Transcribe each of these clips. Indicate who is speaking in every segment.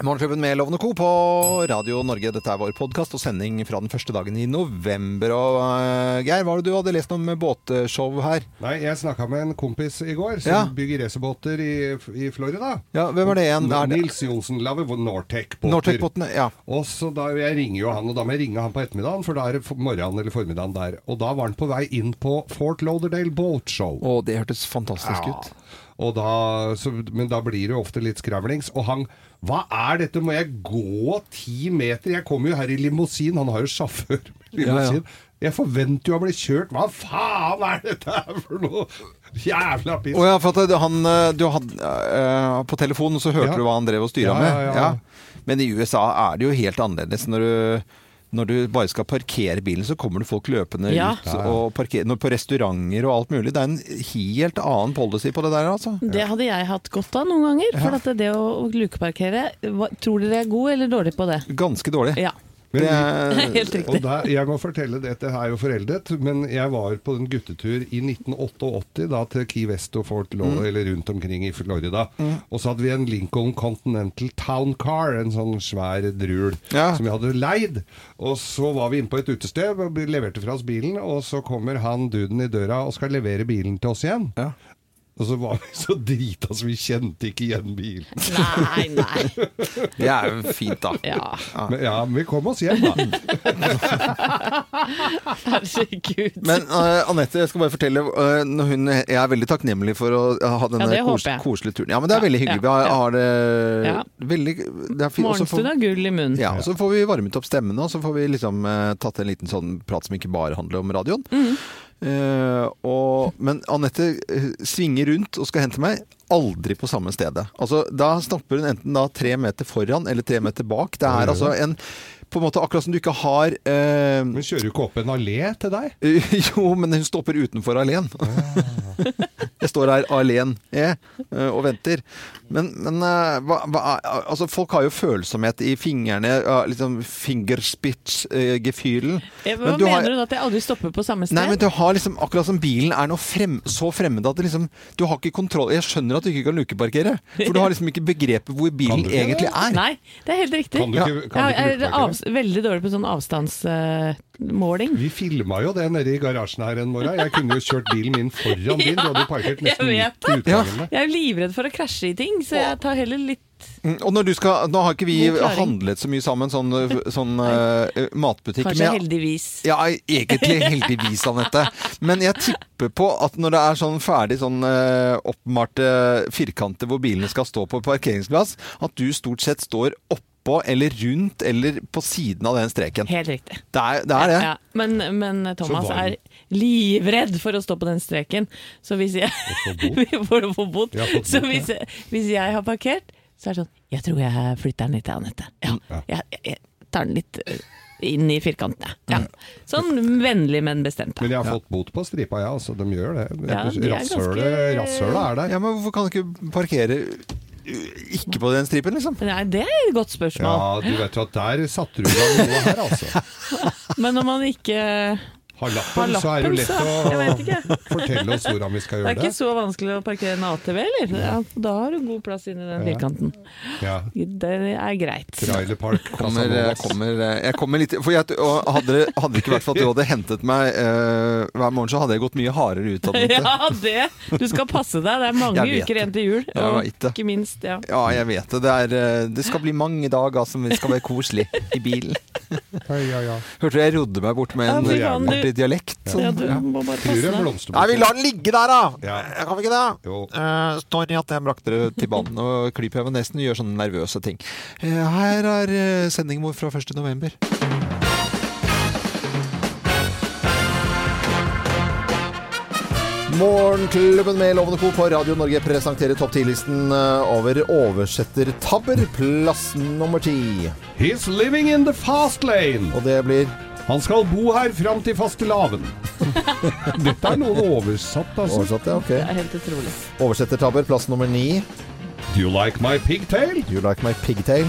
Speaker 1: Morgenklubben med Lovende Co. på Radio Norge. Dette er vår podkast og sending fra den første dagen i november. Og eh, Geir, hva var det du hadde lest om båtshow her?
Speaker 2: Nei, jeg snakka med en kompis i går som
Speaker 1: Ja.
Speaker 2: bygger racerbåter i, i Florida.
Speaker 1: Ja, hvem er det igjen? Er det-
Speaker 2: Nils Johnsen lager Nortec-båter.
Speaker 1: Nortec-båtene? Ja.
Speaker 2: Og så da, Jeg ringer jo han, og da må jeg ringe han på ettermiddagen, for da er det for- morgenen eller formiddagen der. Og da var han på vei inn på Fort Lauderdale Boat Show.
Speaker 1: Å, det hørtes fantastisk ut.
Speaker 2: Og da, så, men da blir det jo ofte litt skravlings. Og han Hva er dette? Må jeg gå ti meter? Jeg kommer jo her i limousin. Han har jo sjåfør med limousin.
Speaker 1: Ja, ja.
Speaker 2: Jeg forventer jo å bli kjørt. Hva faen er dette her for noe jævla piss?
Speaker 1: Å ja, for at det- han, eh, du hadde, eh, på telefonen så hørte
Speaker 2: Ja.
Speaker 1: du hva han drev og styra
Speaker 2: Ja,
Speaker 1: med.
Speaker 2: ja, ja.
Speaker 1: Men i USA er det jo helt annerledes. Når du, når du bare skal parkere bilen, så kommer det folk løpende
Speaker 3: Ja.
Speaker 1: ut. Og parker, når, på restauranter og alt mulig. Det er en helt annen policy på det der, altså.
Speaker 3: Det hadde jeg hatt godt av noen ganger. For at det å lukeparkere hva- Tror dere jeg er god eller dårlig på det?
Speaker 1: Ganske dårlig.
Speaker 3: Ja.
Speaker 1: Det
Speaker 3: Det er
Speaker 1: er,
Speaker 3: Helt riktig.
Speaker 2: Og der, jeg må fortelle, dette er jo foreldet, men jeg var på en guttetur i 1988 da til Key West og Fort Law,
Speaker 3: Mm.
Speaker 2: eller rundt omkring i Florida. Og så hadde vi en Lincoln Continental Town Car, en sånn svær drul,
Speaker 1: Ja.
Speaker 2: som vi hadde leid. Og så var vi inne på et utested, og vi leverte fra oss bilen, og så kommer han duden i døra og skal levere bilen til oss igjen.
Speaker 1: Ja.
Speaker 2: Og så var vi så drita så vi kjente ikke igjen bilen.
Speaker 3: Nei, nei.
Speaker 1: det er jo fint, da.
Speaker 3: Ja,
Speaker 2: Men, ja, men vi kom oss hjem, da.
Speaker 3: herregud.
Speaker 1: Men eh, Anette, jeg skal bare fortelle eh, når hun, Jeg er veldig takknemlig for å ha denne
Speaker 3: Ja, det håper
Speaker 1: kos,
Speaker 3: jeg.
Speaker 1: koselige turen. Ja, men det er veldig hyggelig. Vi
Speaker 3: ja,
Speaker 1: har,
Speaker 3: ja.
Speaker 1: har det
Speaker 3: Ja.
Speaker 1: veldig det er fint. Også for-
Speaker 3: Morgenstund har gull i munnen.
Speaker 1: Ja, og Så får vi varmet opp stemmene, og så får vi liksom eh, tatt en liten sånn prat som ikke bare handler om radioen. Eh, og, men Anette eh, svinger rundt og skal hente meg. Aldri på samme stedet. Altså, da stopper hun enten da tre meter foran eller tre meter bak. Det er altså en på en måte akkurat som du ikke har eh,
Speaker 2: Men kjører du ikke opp en allé til deg?
Speaker 1: Jo, men hun stopper utenfor alene.
Speaker 2: Ah.
Speaker 1: Jeg står her alene jeg, eh, og venter. Men, men eh, hva, hva, er- altså, folk har jo følsomhet i fingrene. eh, Liksom fingerspitz-gefühlen.
Speaker 3: Eh, Hva mener du da? At jeg aldri stopper på samme sted?
Speaker 1: Nei, men du har liksom, akkurat som bilen er noe frem, så fremmed at det liksom, du har ikke kontroll Jeg skjønner at du ikke kan lukeparkere, for du har liksom ikke begrepet hvor bilen
Speaker 2: du ikke det?
Speaker 1: egentlig er.
Speaker 3: Nei, det er helt riktig.
Speaker 2: Kan du ikke,
Speaker 3: jeg
Speaker 2: kan du ikke
Speaker 3: er
Speaker 2: lukeparkere?
Speaker 3: avs veldig dårlig på sånn avstandsmåling.
Speaker 2: Vi filma jo det nede i garasjen her en morgen. Jeg kunne jo kjørt bilen min foran din. Du hadde jo parkert nesten
Speaker 3: jeg
Speaker 2: midt i utgangen der.
Speaker 3: jeg er livredd for å krasje i ting, så jeg tar heller litt
Speaker 1: Mm, Og når du skal, Nå har ikke vi
Speaker 3: God klaring.
Speaker 1: handlet så mye sammen, sånn, sånn eh, matbutikk
Speaker 3: Kanskje heldigvis.
Speaker 1: Ja, egentlig heldigvis, Anette. Men jeg tipper på at når det er sånn ferdig sånn eh, oppmalte firkanter hvor bilene skal stå på parkeringsplass, at du stort sett står oppå eller rundt eller på siden av den streken.
Speaker 3: Helt riktig.
Speaker 1: Det er det. Er det.
Speaker 3: Ja, men, men Thomas
Speaker 2: Så varm.
Speaker 3: er livredd for å stå på den streken. Så hvis jeg For å få bot.
Speaker 2: Ja, få bot,
Speaker 3: Så hvis jeg, hvis jeg har parkert, så er det sånn Jeg tror jeg flytter den litt, jeg, Anette. Ja, jeg, jeg tar den litt eh, inn i firkantene. Ja. Sånn vennlig, men bestemt.
Speaker 2: Mm. Men
Speaker 3: Da.
Speaker 2: jeg har fått bot på stripa, ja. Altså, de gjør det.
Speaker 3: Ja, de er ganske-
Speaker 2: Rasshølet rasshølet er der.
Speaker 1: Ja, men hvorfor kan du ikke parkere uh, ikke på den stripen, liksom?
Speaker 3: Nei, det er et godt
Speaker 2: Ja,
Speaker 3: spørsmål.
Speaker 2: du vet jo at der satte du i gang noe her, altså.
Speaker 3: Men når man ikke
Speaker 2: Har
Speaker 3: har
Speaker 2: lappen, så er det
Speaker 3: lappen, så
Speaker 2: jo
Speaker 3: Jeg vet
Speaker 2: lett å
Speaker 3: ikke.
Speaker 2: fortelle oss hvordan vi skal
Speaker 3: Det er
Speaker 2: gjøre
Speaker 3: ikke
Speaker 2: det.
Speaker 3: så vanskelig å parkere en ATV, eller? Ja, da har du god plass inni den firkanten.
Speaker 2: Ja.
Speaker 3: Det er greit.
Speaker 2: Trailer Park.
Speaker 1: Kommer, eh,
Speaker 2: Casanova.
Speaker 1: kommer, jeg kommer litt For jeg, og hadde, det- hadde det ikke vært for at du hadde hentet meg eh, hver morgen, så hadde jeg gått mye hardere ut av det.
Speaker 3: Ja, det! Du skal passe deg. Det er mange
Speaker 1: Jeg vet
Speaker 3: uker igjen til jul.
Speaker 1: Jeg
Speaker 3: Og
Speaker 1: vet det.
Speaker 3: ikke minst, ja.
Speaker 1: Ja, jeg vet det. Det, er, eh, det skal bli mange dager som det skal være koselig i bilen.
Speaker 2: Ja, ja, ja.
Speaker 1: Hørte du jeg rodde meg bort med
Speaker 3: Ja,
Speaker 1: en
Speaker 3: fy faen,
Speaker 1: ordentlig dialekt?
Speaker 3: ja
Speaker 1: Sånn.
Speaker 3: du må bare passe
Speaker 2: Tror jeg
Speaker 3: deg.
Speaker 1: Nei, vi
Speaker 2: blomsterbukett.
Speaker 1: lar den ligge der, da!
Speaker 2: Ja.
Speaker 1: Kan vi ikke det?
Speaker 2: Jo.
Speaker 1: Eh, sorry at jeg brakte dere til banen og klyper jeg ved nesten og gjør sånne nervøse ting. Eh, her er eh, sendingen vår fra 1. november. Morgenklubben med Lovende Co. på Radio Norge presenterer topp 10-listen over oversettertabber. Plass nummer ti.
Speaker 2: He's living in the fast lane.
Speaker 1: Og det blir
Speaker 2: Han skal bo her fram til fastelavn. Dette er noe oversatt, altså.
Speaker 1: oversatt, ja.
Speaker 3: Det
Speaker 1: Ok.
Speaker 3: er helt utrolig.
Speaker 1: Oversettertabber, plass nummer ni.
Speaker 2: Do you like my pigtail?
Speaker 1: You like my pigtail.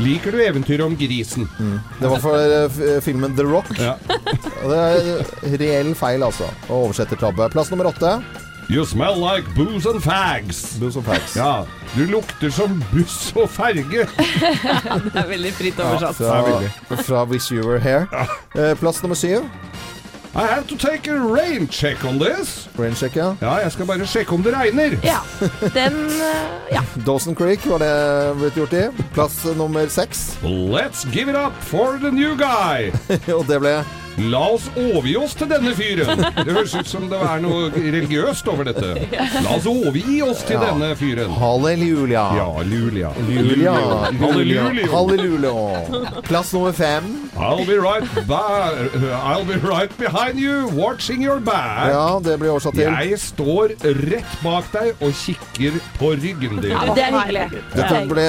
Speaker 2: Liker du eventyret om grisen?
Speaker 1: Det var for eh, f- filmen The Rock.
Speaker 2: Ja.
Speaker 1: Og Det er reell feil, altså. Å oversette tabbe. Plass nummer åtte.
Speaker 2: You smell like booze and fags.
Speaker 1: Booze and fags.
Speaker 2: Ja, du lukter som buss og ferge.
Speaker 3: Det er veldig fritt oversatt.
Speaker 2: Ja, det er
Speaker 1: Fra, fra Wish You Were Here. Eh, plass nummer syv.
Speaker 2: I have to take a rain check on this.
Speaker 1: Raincheck, ja.
Speaker 2: Ja, jeg skal bare sjekke om det regner.
Speaker 3: Ja. Den eh, Ja.
Speaker 1: Dawson Creek var det blitt gjort i. Plass nummer seks.
Speaker 2: Let's give it up for the new guy.
Speaker 1: Og det ble
Speaker 2: La oss overgi oss til denne fyren. Det høres ut som det er noe religiøst over dette. La oss overgi oss til
Speaker 1: Ja.
Speaker 2: denne fyren.
Speaker 1: Halleluja.
Speaker 2: Ja, Lulia.
Speaker 1: Julia.
Speaker 2: Halleluja.
Speaker 1: Halleluja. Plass nummer fem.
Speaker 2: I'll be right back. I'll be right behind you, watching your back.
Speaker 1: Ja, det blir oversatt til.
Speaker 2: Jeg står rett bak deg og kikker på ryggen din.
Speaker 3: Det er hyggelig.
Speaker 1: Dette ble,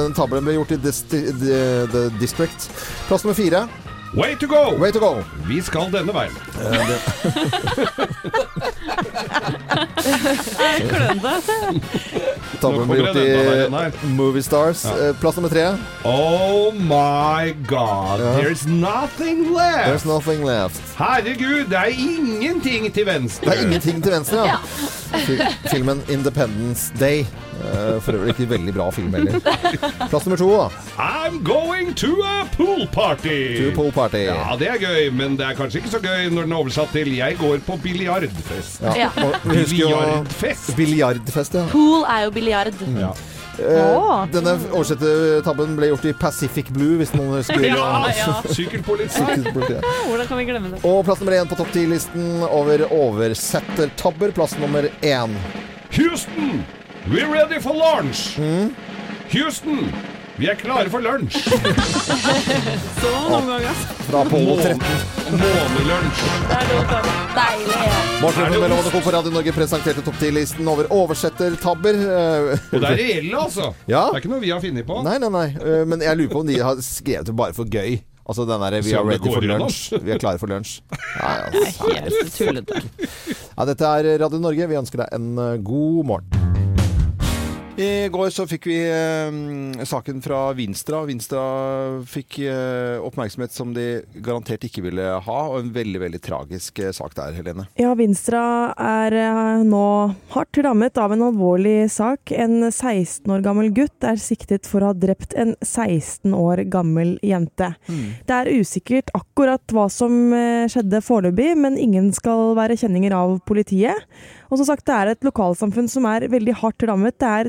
Speaker 1: denne tabelen ble gjort i dis, The- The District. Plass nummer fire.
Speaker 2: Way to go!
Speaker 1: Way to go.
Speaker 2: Vi skal denne veien.
Speaker 1: Tabelen ble
Speaker 2: Nå kommer
Speaker 1: gjort
Speaker 2: den enda verre
Speaker 1: i
Speaker 2: enn
Speaker 1: Movie Stars. Eh, Plass nummer tre.
Speaker 2: Oh my god, there's nothing
Speaker 1: There's
Speaker 2: left!
Speaker 1: nothing left.
Speaker 2: Herregud, det er ingenting til venstre!
Speaker 1: Det er ingenting til venstre, ja. Fi- Filmen 'Independence Day'. Eh, For øvrig ikke veldig bra film heller. Plass nummer to, da.
Speaker 2: I'm going to a pool party!
Speaker 1: Two Pool Party.
Speaker 2: Ja, det er gøy, men det er kanskje ikke så gøy når den er oversatt til 'jeg går på biljardfest'.
Speaker 1: Ja. Og vi husker jo
Speaker 2: Biljardfest!
Speaker 1: Biljardfest, ja.
Speaker 4: Pool
Speaker 5: Ah,
Speaker 4: er jo biljard.
Speaker 2: Ja.
Speaker 1: Eh,
Speaker 4: Å.
Speaker 1: Denne oversette tabben ble gjort i Pacific Blue, hvis noen husker det.
Speaker 2: Ja, sykkelpoliti.
Speaker 3: Hvordan kan vi glemme det?
Speaker 1: Og plass nummer én på topp ti-listen over oversettertabber. Plass nummer én.
Speaker 2: Houston, we're ready for launch!
Speaker 1: Mm.
Speaker 2: Houston, vi er klare for lunsj!
Speaker 3: Så noen ganger.
Speaker 1: Fra Apollo 13.
Speaker 2: Månelunsj!
Speaker 5: é.
Speaker 4: Deilig.
Speaker 1: Morten
Speaker 2: Er det
Speaker 1: Melon og Co. på Radio Norge presenterte topp ti-listen over oversettertabber. Eh,
Speaker 2: Og det er reelle, altså.
Speaker 1: Ja.
Speaker 2: Det er ikke noe vi har funnet på.
Speaker 1: Nei, nei, nei. Eh, Men jeg lurer på om de har skrevet det bare for gøy. Altså den derre Vi
Speaker 2: Se
Speaker 1: are
Speaker 2: om det
Speaker 1: ready
Speaker 2: går
Speaker 1: for
Speaker 2: gjennom.
Speaker 1: lunch. Vi er klare for lunsj. Nei, altså.
Speaker 3: Helt tullete.
Speaker 1: Nei, dette er Radio Norge. Vi ønsker deg en eh, god morgen. I går så fikk vi eh, saken fra Vinstra. Vinstra fikk eh, oppmerksomhet som de garantert ikke ville ha, og en veldig veldig tragisk eh, sak der, Helene.
Speaker 6: Ja, Vinstra er eh, nå hardt rammet av en alvorlig sak. En 16 år gammel gutt er siktet for å ha drept en 16 år gammel jente. Det er usikkert akkurat hva som eh, skjedde foreløpig, men ingen skal være kjenninger av politiet. Og som sagt, det er et lokalsamfunn som er veldig hardt rammet. Det er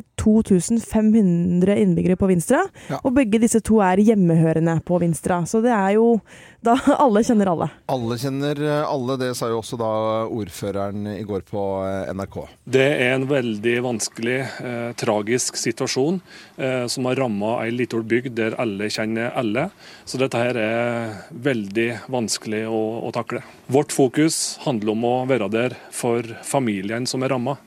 Speaker 6: 2500 innbyggere på Vinstra,
Speaker 1: Ja.
Speaker 6: og begge disse to er hjemmehørende på Vinstra. Så det er jo da alle kjenner alle.
Speaker 1: Alle kjenner eh, alle, det sa jo også da ordføreren i går på eh, NRK.
Speaker 7: Det er en veldig vanskelig, eh, tragisk situasjon eh, som har ramma ei lita bygd der alle kjenner alle. Så dette her er veldig vanskelig å, å takle. Vårt fokus handler om å være der for familien som er ramma.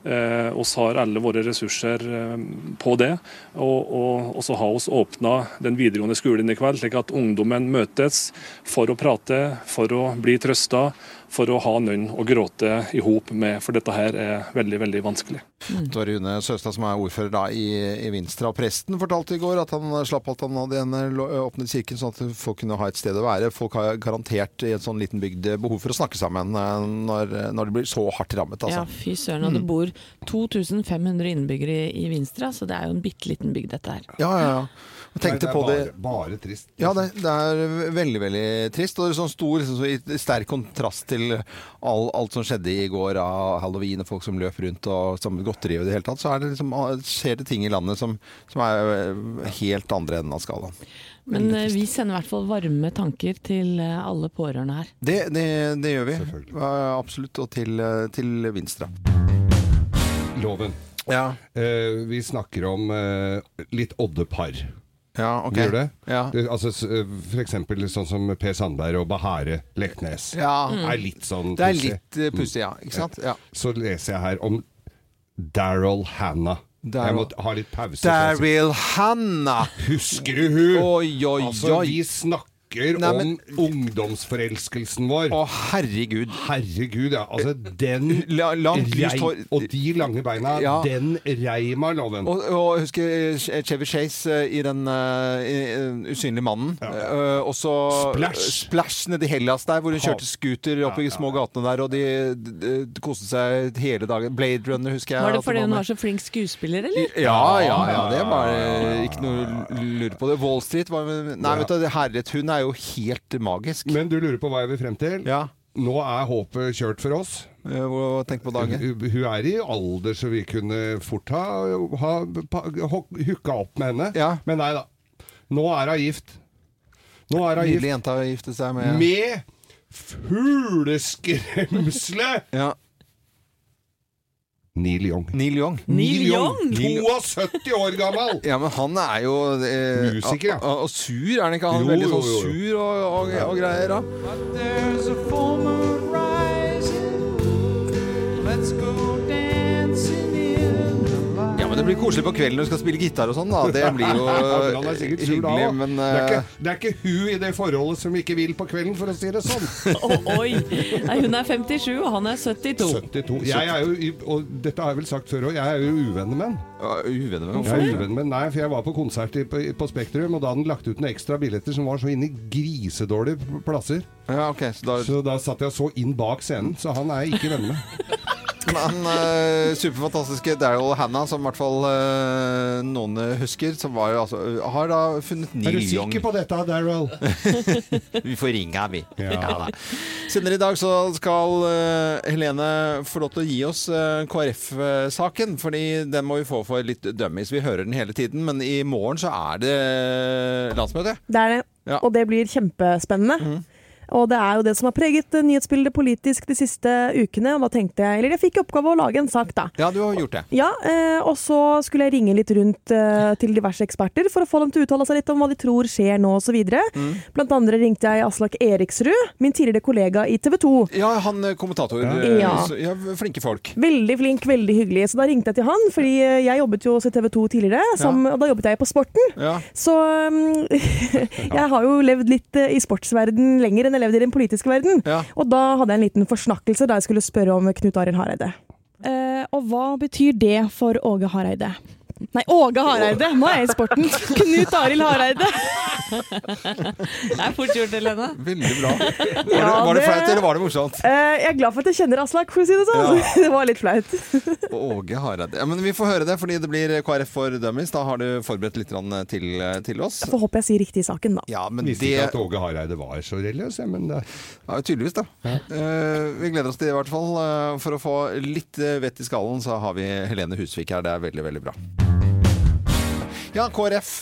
Speaker 7: Eh, oss har alle våre ressurser eh, på det. Og, og, og så har oss åpna den videregående skolen i kveld, slik at ungdommen møtes for å prate, for å bli trøsta, for å ha noen å gråte i hop med. For dette her er veldig, veldig vanskelig.
Speaker 1: Det var Rune Søstad som er ordfører da i, i Vinstra. Og presten fortalte i går at han slapp alt han hadde igjen, lo- åpnet kirken sånn at folk kunne ha et sted å være. Folk har garantert i en sånn liten bygd behov for å snakke sammen eh, når, når de blir så hardt rammet.
Speaker 3: Ja,
Speaker 1: Altså.
Speaker 3: fy søren. Og det bor 2500 innbyggere i- i Vinstra, så det er jo en bitte liten bygd, dette her.
Speaker 1: Ja, ja, ja. Og tenkte
Speaker 2: Nei,
Speaker 1: på det
Speaker 2: er Bare, bare trist.
Speaker 1: Ja, det, det er veldig, veldig trist. Og det er sånn stor, liksom, så i sterk kontrast til all, alt som skjedde i går av halloween og folk som løp rundt og som godteri og i det hele tatt. Så er det liksom, skjer det ting i landet som, som er eh, helt andre enden av skalaen.
Speaker 3: Men eh, vi sender i hvert fall varme tanker til eh, alle pårørende her.
Speaker 1: Det, det, det gjør vi.
Speaker 2: Selvfølgelig.
Speaker 1: Ja, Absolutt. Og til, eh, til Vinstra.
Speaker 2: Loven.
Speaker 1: Ja,
Speaker 2: Eh, vi snakker om eh, litt oddepar.
Speaker 1: ja ok.
Speaker 2: Gjør det?
Speaker 1: Ja.
Speaker 2: Det, altså, s- eh, for eksempel sånn som Per Sandberg og Bahare Leknes.
Speaker 1: Ja.
Speaker 2: Er litt sånn
Speaker 1: Det er
Speaker 2: pussig.
Speaker 1: litt eh, pussig, ja. Ikke sant? Ja.
Speaker 2: Så leser jeg her om Daryl Hannah.
Speaker 1: Daryl-
Speaker 2: Jeg må t- ha litt pause. så jeg
Speaker 1: Daryl Hanna!
Speaker 2: sier, Husker du hun?
Speaker 1: Oi, oi,
Speaker 2: Altså,
Speaker 1: oi.
Speaker 2: vi snakker snakker
Speaker 1: Nei, men-
Speaker 2: om ungdomsforelskelsen vår.
Speaker 1: Å, herregud.
Speaker 2: Herregud, ja. Altså, den
Speaker 1: La- langt, lyst
Speaker 2: rei-
Speaker 1: hår.
Speaker 2: Og de lange beina.
Speaker 1: Ja.
Speaker 2: Den Reima-loven.
Speaker 1: Og, og jeg husker eh, Chevy Chase eh, i Den eh, i, eh, usynlige mannen. Eh, og så eh,
Speaker 2: Splash.
Speaker 1: Splash nede i Hellas der, hvor hun
Speaker 2: Hav.
Speaker 1: kjørte scooter opp
Speaker 2: Ja,
Speaker 1: i
Speaker 2: ja,
Speaker 1: små gatene der, og de, de, de koste seg hele dagen. Blade Runner husker jeg.
Speaker 3: Var det
Speaker 1: at
Speaker 3: fordi hun
Speaker 1: med.
Speaker 3: var så flink skuespiller, eller?
Speaker 1: Ja, ja, ja. Det var eh, ikke noe lur på det. Wall Street var Nei, vet du, herret, hun er jo helt magisk.
Speaker 2: Men du lurer på hva jeg vil frem til?
Speaker 1: Ja.
Speaker 2: Nå er håpet kjørt for oss.
Speaker 1: eh, Hva tenk på dagen?
Speaker 2: Hun, hun er i alder så vi kunne fort ha, ha pa- ho- hooka opp med henne.
Speaker 1: Ja.
Speaker 2: Men nei da. Nå er hun gift. Nå er hun
Speaker 1: Nydelig
Speaker 2: gift
Speaker 1: jente har giftet seg med
Speaker 2: med fugleskremselet
Speaker 1: ja.
Speaker 2: Neil Young.
Speaker 1: Neil Young.
Speaker 3: Neil Young!
Speaker 2: 72 år gammel!
Speaker 1: Ja, men han er jo eh,
Speaker 2: Musiker, ja.
Speaker 1: Og, og sur, er han ikke? Han
Speaker 2: Jo,
Speaker 1: er veldig
Speaker 2: jo,
Speaker 1: sånn
Speaker 2: jo.
Speaker 1: sur og, og, og greier. da Ja, men det blir koselig på kvelden når du skal spille gitar og sånn, da. Det blir jo
Speaker 2: Ja, men han er sikkert sur da
Speaker 1: hyggelig,
Speaker 2: også.
Speaker 1: men
Speaker 2: det, er
Speaker 1: eh,
Speaker 2: ikke, det er ikke hun i det forholdet som ikke vil på kvelden, for å si det sånn.
Speaker 3: Å, oi! Nei, hun er 57, og han er 72.
Speaker 2: 72. Jeg er jo, i- og dette har jeg vel sagt før òg, jeg er jo uvenner med ham.
Speaker 1: eh, ja, uvenner med
Speaker 2: Jeg er
Speaker 1: hvorfor?
Speaker 2: uvenn med ham. Nei, for jeg var på konsert i, på, på Spektrum, og da hadde han lagt ut noen ekstra billetter som var så inn i grisedårlige p- plasser.
Speaker 1: Ja, ok, så da
Speaker 2: Så da satt jeg og så inn bak scenen, så han er jeg ikke venn med.
Speaker 1: Men eh, superfantastiske Daryl Hannah, som i hvert fall eh, noen husker, som var jo altså Har da funnet
Speaker 2: Er
Speaker 1: Neil
Speaker 2: du
Speaker 1: Young.
Speaker 2: sikker på dette, Daryl?
Speaker 1: Vi får ringe her, vi.
Speaker 2: Ja.
Speaker 1: da. Senere i dag så skal eh, Helene få lov til å gi oss eh, KrF-saken, fordi den må vi få for litt dummies. Vi hører den hele tiden, men i morgen så er det eh, landsmøte.
Speaker 6: Det er det.
Speaker 1: Ja.
Speaker 6: Og det blir kjempespennende. Og det er jo det som har preget eh, nyhetsbildet politisk de siste ukene. Og da tenkte jeg Eller jeg fikk i oppgave å lage en sak, da.
Speaker 1: Ja, du har gjort det.
Speaker 6: Ja, eh, og så skulle jeg ringe litt rundt eh, til diverse eksperter for å få dem til å uttale seg litt om hva de tror skjer nå osv. videre. Blant andre ringte jeg Aslak Eriksrud, min tidligere kollega i TV 2.
Speaker 1: Ja, han eh, kommentator.
Speaker 6: Ja.
Speaker 1: eh, så- ja, flinke folk.
Speaker 6: Veldig flink, veldig hyggelig. Så da ringte jeg til han, fordi eh, jeg jobbet jo også i TV 2 tidligere, som, og da jobbet jeg på Sporten.
Speaker 1: Ja.
Speaker 6: Så um, jeg har jo levd litt eh, i sportsverden lenger enn jeg levde i den politiske verden.
Speaker 1: Ja.
Speaker 6: Og da hadde jeg en liten forsnakkelse da jeg skulle spørre om Knut Arild Hareide. Eh, og hva betyr det for Åge Hareide? Nei, Åge Hareide! Nå er jeg i sporten. Knut Arild Hareide.
Speaker 3: Det er fort gjort, Helene.
Speaker 1: Veldig bra. Var det,
Speaker 6: Ja,
Speaker 1: var det
Speaker 6: det-
Speaker 1: flaut, eller var det morsomt?
Speaker 6: Eh, jeg er glad for at jeg kjenner Aslak, for å si det sånn.
Speaker 1: Ja.
Speaker 6: Det var litt flaut.
Speaker 1: Åge Hareide. Ja, men vi får høre det, fordi det blir KrF for dummies. Da har du forberedt litt grann til, eh, til oss.
Speaker 6: Får håpe jeg sier riktig i saken, da.
Speaker 1: Ja, men
Speaker 2: Visste
Speaker 1: det
Speaker 2: ikke at Åge Hareide var så religiøs, jeg, men det,
Speaker 1: Ja, tydeligvis, da. Eh, vi gleder oss til det, i hvert fall. Eh, for å få litt eh, vett i skallen, så har vi Helene Husvik her. Det er veldig, veldig bra. Ja, KrF.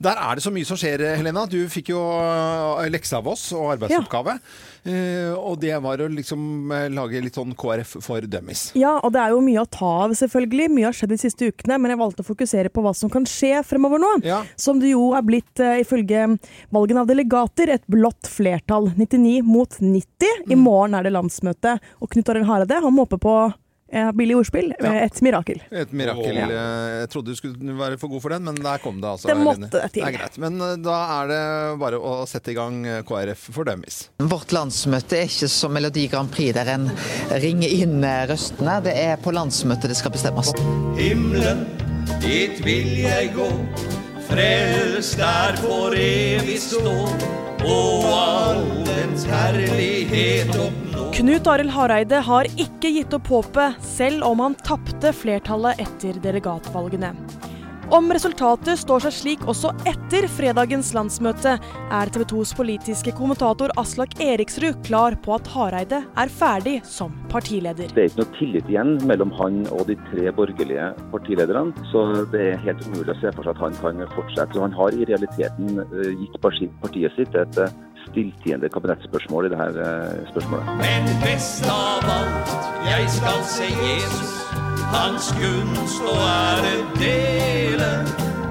Speaker 1: Der er det så mye som skjer, eh, Helena. Du fikk jo eh, lekse av oss og arbeidsoppgave. Eh, og det var å liksom eh, lage litt sånn KrF for dummies.
Speaker 6: Ja, og det er jo mye å ta av, selvfølgelig. Mye har skjedd de siste ukene, men jeg valgte å fokusere på hva som kan skje fremover nå.
Speaker 1: Ja.
Speaker 6: Som det jo er blitt, eh, ifølge valgen av delegater, et blått flertall. 99 mot 90. I morgen er det landsmøte, og Knut Arild Hareide han må håpe på eh, billig ordspill.
Speaker 1: Ja.
Speaker 6: eh, Et mirakel.
Speaker 1: Et mirakel.
Speaker 2: Åh.
Speaker 1: eh, Jeg trodde du skulle være for god for den, men der kom det altså.
Speaker 6: Det måtte
Speaker 1: Helene.
Speaker 6: det til.
Speaker 1: er greit. Men eh, da er det bare å sette i gang eh, KrF for dummies.
Speaker 8: Vårt landsmøte er ikke som Melodi Grand Prix der en ringer inn eh, røstene. Det er på landsmøtet det skal bestemmes.
Speaker 9: Himmelen, dit vil jeg gå. Frels der for evig stå. Og all dens herlighet oppnå.
Speaker 6: Knut Arild Hareide har ikke gitt opp håpet, selv om han tapte flertallet etter delegatvalgene. Om resultatet står seg slik også etter fredagens landsmøte, er TV 2s politiske kommentator Aslak Eriksrud klar på at Hareide er ferdig som partileder.
Speaker 10: Det er ikke noe tillit igjen mellom han og de tre borgerlige partilederne, så det er helt umulig å se for seg at han kan fortsette. Så han har i realiteten eh, gitt parti- partiet sitt et eh, stilltiende kabinettsspørsmål i dette spørsmålet.
Speaker 9: Men best av alt, jeg skal se Jesus. Hans gunst og ære dele.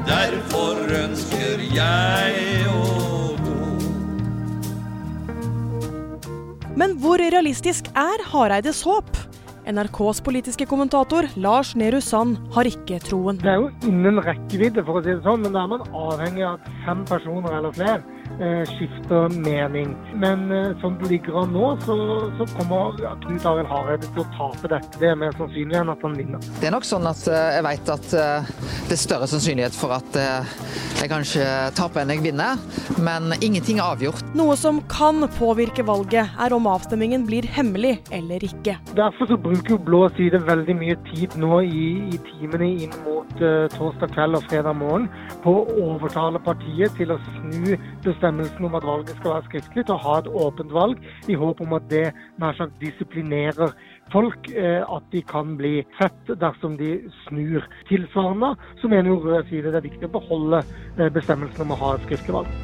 Speaker 9: Derfor ønsker jeg å gå.
Speaker 6: Men hvor realistisk er Hareides håp? NRKs politiske kommentator Lars Nehru Sand har ikke troen.
Speaker 5: Det er jo innen rekkevidde, for å si det sånn, men da er man avhengig av at fem personer eller flere eh, skifter mening. Men eh, sånn det ligger an nå, så, så kommer Knut Arild Hareide til å tape det. Det er mer sannsynlig enn at han vinner.
Speaker 8: Det er nok sånn at eh, jeg vet at eh, det er større sannsynlighet for at eh, jeg kanskje taper enn jeg vinner, men ingenting er avgjort.
Speaker 11: Noe som kan påvirke valget, er om avstemmingen blir hemmelig eller ikke.
Speaker 5: Derfor så bruker jo blå side veldig mye tid nå i, i timene inn mot eh, torsdag kveld og fredag morgen på å overtale partiet til å snu bestemmelsen om at valget skal være skriftlig, til å ha et åpent valg, i håp om at det nær sagt disiplinerer folk, eh, at de kan bli sett dersom de snur. Tilsvarende så mener jo rød side det er viktig å beholde eh, bestemmelsen om å ha et skriftlig valg.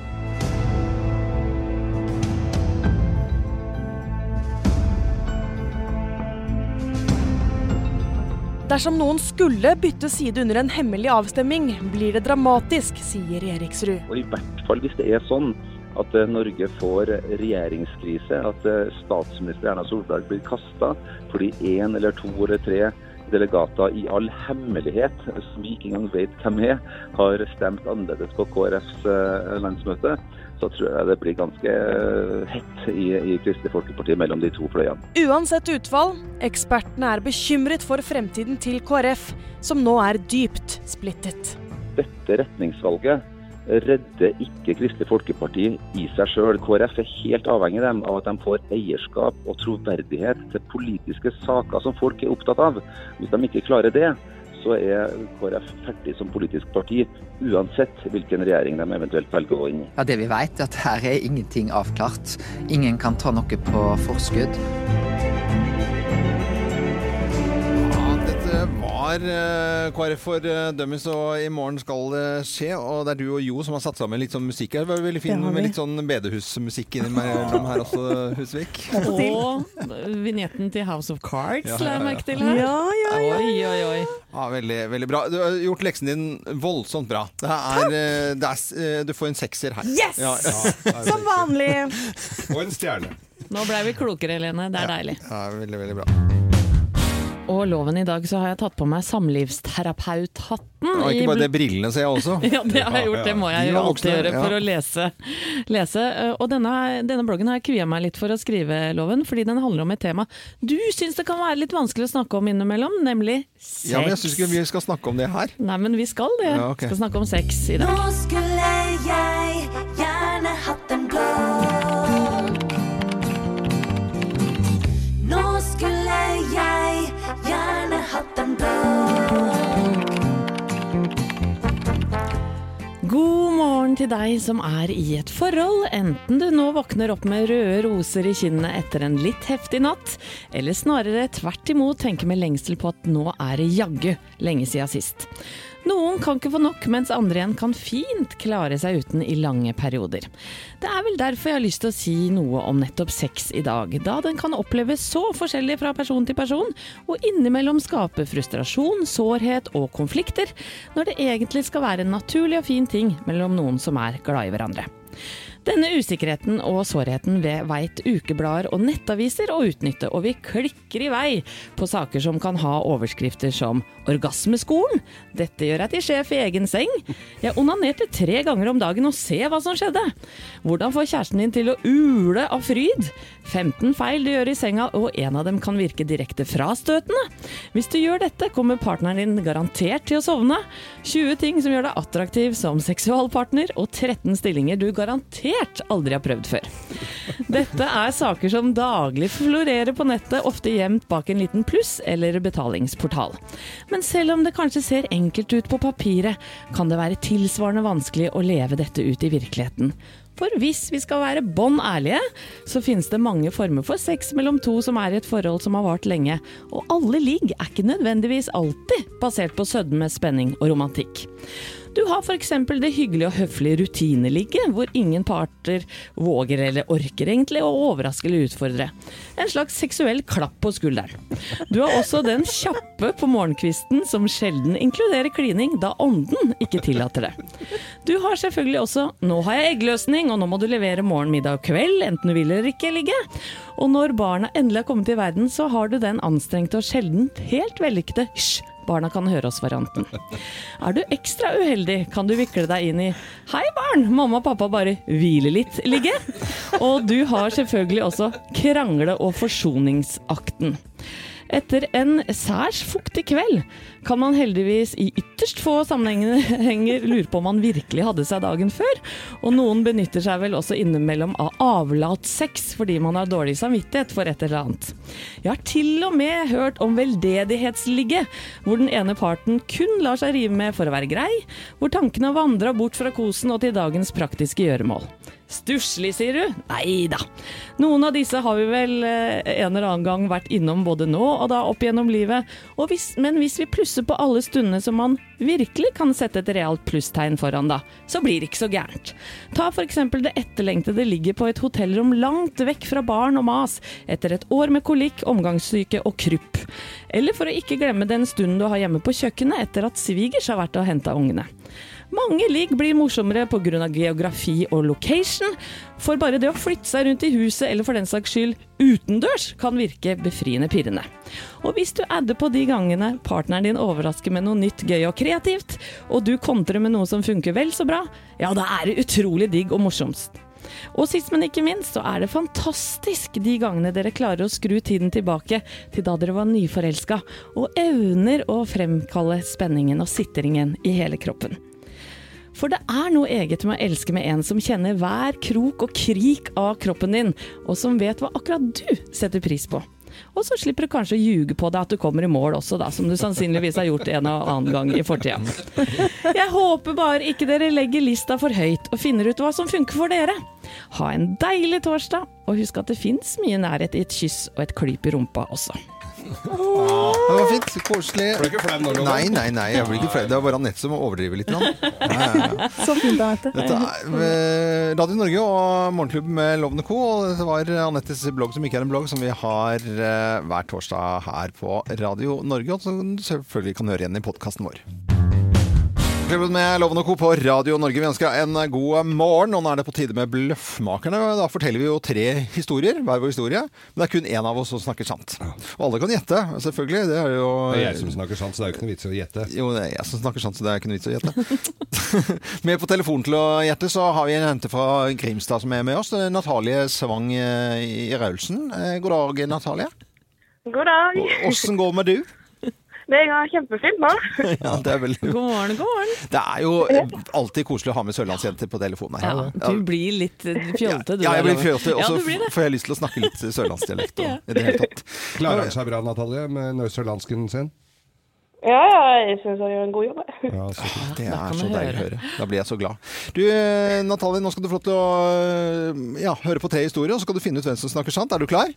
Speaker 11: Dersom noen skulle bytte side under en hemmelig avstemning, blir det dramatisk, sier Eriksrud.
Speaker 10: Og i hvert fall hvis det er sånn at eh, Norge får regjeringskrise, at eh, statsminister Erna Solberg blir kasta fordi én eller to eller tre delegater i all hemmelighet, som vi ikke engang vet hvem er, har stemt annerledes på KrFs eh, landsmøte, så tror jeg det blir ganske eh, hett i, i Kristelig Folkeparti mellom de to fløyene.
Speaker 11: Uansett utfall, ekspertene er bekymret for fremtiden til KrF, som nå er dypt splittet.
Speaker 10: dette retningsvalget redder ikke Kristelig Folkeparti i seg sjøl. KrF er helt avhengig av dem, av at de får eierskap og troverdighet til politiske saker som folk er opptatt av. Hvis de ikke klarer det, så er KrF ferdig som politisk parti, uansett hvilken regjering de eventuelt velger å gå inn i.
Speaker 8: Ja, Det vi vet, er at her er ingenting avklart. Ingen kan ta noe på forskudd.
Speaker 1: Dette var eh, KrF for eh, Dummies, og i morgen skal det skje. Og det er du og Jo som har satt sammen litt sånn musikk her. Det var veldig fin
Speaker 3: Det har vi.
Speaker 1: med litt sånn bedehusmusikk innimellom her også, Husvik.
Speaker 3: Og vignetten til House of Cards
Speaker 1: Ja, ja,
Speaker 3: la
Speaker 1: ja.
Speaker 3: jeg merke til her.
Speaker 1: Ja, ja, ja,
Speaker 3: Oi, oi, oi.
Speaker 1: Ja, veldig, veldig bra. Du har gjort leksen din voldsomt bra. Det er, eh, det er, s- eh, du får en sekser her.
Speaker 3: Yes! Som
Speaker 11: vanlig.
Speaker 1: og en stjerne.
Speaker 3: Nå blei vi klokere, Helene. Det er deilig.
Speaker 1: Ja, veldig, veldig bra.
Speaker 3: Og loven i dag så har jeg tatt på meg samlivsterapeuthatten.
Speaker 1: Og
Speaker 3: i
Speaker 1: ikke bare det,
Speaker 3: bl-
Speaker 1: brillene ser jeg også.
Speaker 3: Ja, det har jeg gjort. Det må jeg
Speaker 1: De
Speaker 3: jo
Speaker 1: var
Speaker 3: alltid
Speaker 1: voksne,
Speaker 3: gjøre
Speaker 1: ja.
Speaker 3: for å lese. lese. Eh, Og denne, denne bloggen har jeg kvia meg litt for å skrive, Loven, fordi den handler om et tema du syns det kan være litt vanskelig å snakke om innimellom, nemlig sex.
Speaker 1: Ja, men jeg syns ikke vi skal snakke om det her.
Speaker 3: Nei, men vi skal det.
Speaker 1: Ja, ok.
Speaker 3: Skal snakke om sex i dag.
Speaker 4: Nå skulle jeg gjerne hatt en blå. Nå skulle jeg gjerne hatt en blå.
Speaker 3: God morgen til deg som er i et forhold, enten du nå våkner opp med røde roser i kinnene etter en litt heftig natt, eller snarere tvert imot tenker med lengsel på at nå er det jaggu lenge siden sist. Noen kan ikke få nok, mens andre igjen kan fint klare seg uten i lange perioder. Det er vel derfor jeg har lyst til å si noe om nettopp sex i dag, da den kan oppleves så forskjellig fra person til person, og innimellom skape frustrasjon, sårhet og konflikter, når det egentlig skal være en naturlig og fin ting mellom noen som er glad i hverandre. Denne usikkerheten og sårheten ved veit ukeblader og nettaviser å utnytte, og vi klikker i vei på saker som kan ha overskrifter som 'Orgasmeskolen', 'Dette gjør jeg til sjef i egen seng', 'Jeg onanerte tre ganger om dagen og se hva som skjedde', 'Hvordan få kjæresten din til å ule av fryd', 15 feil du gjør i senga, og en av dem kan virke direkte frastøtende. Hvis du gjør dette, kommer partneren din garantert til å sovne. 20 ting som gjør deg attraktiv som seksualpartner, og 13 stillinger du garantert aldri har prøvd før. Dette er saker som daglig florerer på nettet, ofte gjemt bak en liten pluss eller betalingsportal. Men selv om det kanskje ser enkelt ut på papiret, kan det være tilsvarende vanskelig å leve dette ut i virkeligheten. For hvis vi skal være bånn ærlige, så finnes det mange former for sex mellom to som er i et forhold som har vart lenge, og alle ligg er ikke nødvendigvis alltid basert på sødme, spenning og romantikk. Du har f.eks. det hyggelige og høflige rutineligget, hvor ingen parter våger eller orker egentlig å overraske eller utfordre. En slags seksuell klapp på skulderen. Du har også den kjappe på morgenkvisten som sjelden inkluderer klining, da ånden ikke tillater det. Du har selvfølgelig også 'nå har jeg eggløsning', og 'nå må du levere morgen, middag og kveld', enten du vil eller ikke ligge. Og når barna endelig har kommet i verden, så har du den anstrengte og sjelden helt vellykkede 'hysj, Barna kan høre oss varianten. Er du ekstra uheldig, kan du vikle deg inn i 'Hei, barn, mamma og pappa bare hviler litt' ligge. Og du har selvfølgelig også krangle- og forsoningsakten. Etter en særs fuktig kveld kan man heldigvis i ytterst få sammenhenger lure på om man virkelig hadde seg dagen før, og noen benytter seg vel også innimellom av avlatssex fordi man har dårlig samvittighet for et eller annet. Jeg har til og med hørt om veldedighetsligge, hvor den ene parten kun lar seg rive med for å være grei, hvor tankene har vandra bort fra kosen og til dagens praktiske gjøremål. Stusslig, sier du? Nei da. Noen av disse har vi vel eh, en eller annen gang vært innom både nå og da opp gjennom livet, og hvis, men hvis vi plusser på alle stundene som man virkelig kan sette et realt plusstegn foran, da, så blir det ikke så gærent. Ta for eksempel det etterlengtede ligget på et hotellrom langt vekk fra barn og mas, etter et år med kolikk, omgangssyke og krupp. Eller for å ikke glemme den stunden du har hjemme på kjøkkenet etter at svigers har vært og henta ungene. Mange ligg blir morsommere pga. geografi og location, for bare det å flytte seg rundt i huset, eller for den saks skyld utendørs, kan virke befriende pirrende. Og hvis du adder på de gangene partneren din overrasker med noe nytt, gøy og kreativt, og du kontrer med noe som funker vel så bra, ja, da er det utrolig digg og morsomst. Og sist, men ikke minst, så er det fantastisk de gangene dere klarer å skru tiden tilbake til da dere var nyforelska, og evner å fremkalle spenningen og sitringen i hele kroppen. For det er noe eget med å elske med en som kjenner hver krok og krik av kroppen din, og som vet hva akkurat du setter pris på. Og så slipper du kanskje å ljuge på deg at du kommer i mål også, da, som du sannsynligvis har gjort en og annen gang i fortida. Jeg håper bare ikke dere legger lista for høyt og finner ut hva som funker for dere. Ha en deilig torsdag, og husk at det fins mye nærhet i et kyss og et klyp i rumpa også.
Speaker 1: Det var fint. Koselig.
Speaker 2: Ble du ikke flau nå, Loven?
Speaker 1: Nei, nei, nei. Jeg blir ikke flau. Det var bare Anette som overdriver litt. nå. Ja, ja, ja.
Speaker 6: Så fint, Anette.
Speaker 1: Dette er eh, Radio Norge og Morgenklubben med Lovende Co. Og dette var Anettes blogg som ikke er en blogg, som vi har eh, hver torsdag her på Radio Norge. Og som du selvfølgelig kan høre igjen i podkasten vår. Klubben med Loven og Co. på Radio Norge. Vi ønsker en god morgen. Og nå er det på tide med Bløffmakerne. Da forteller vi jo tre historier, hver vår historie. Men det er kun én av oss som snakker sant. Og alle kan gjette, selvfølgelig. Det er jo
Speaker 2: Det er jeg som snakker sant, så det er jo ikke noe vits i å gjette.
Speaker 1: jo, det er jeg som snakker sant, så det er ikke noe vits å gjette. med på telefon til å gjette, så har vi en jente fra Grimstad som er med oss. Det er Natalie Svang eh, i Raulsen. Eh, God dag, Natalie.
Speaker 12: God dag.
Speaker 1: Åssen går med du?
Speaker 12: Det går kjempefint nå.
Speaker 1: Ja, det er vel
Speaker 3: God morgen, god morgen.
Speaker 1: Det er jo eh, alltid koselig å ha med sørlandsjenter på telefonen her.
Speaker 3: Ja, du blir litt fjolte, du.
Speaker 1: Ja, jeg
Speaker 3: da,
Speaker 1: blir
Speaker 3: Loven.
Speaker 1: fjolte, og
Speaker 3: Ja,
Speaker 1: så
Speaker 3: du blir det.
Speaker 1: f- får jeg lyst til å snakke litt sørlandsdialekt. Og, i det hele tatt.
Speaker 2: Klarer han seg bra, Natalie, med nøsserlandsken sin?
Speaker 12: Ja, jeg syns han gjør en god jobb. jeg.
Speaker 2: Ja, så fint.
Speaker 1: Det
Speaker 3: Da
Speaker 1: er
Speaker 3: kan
Speaker 1: så
Speaker 3: vi
Speaker 1: deilig å
Speaker 3: høre.
Speaker 1: høre. Da blir jeg så glad. Du, eh, Natalie, nå skal du få lov til å eh, ja, høre på tre historier, og så skal du finne ut hvem som snakker sant. Er du klar?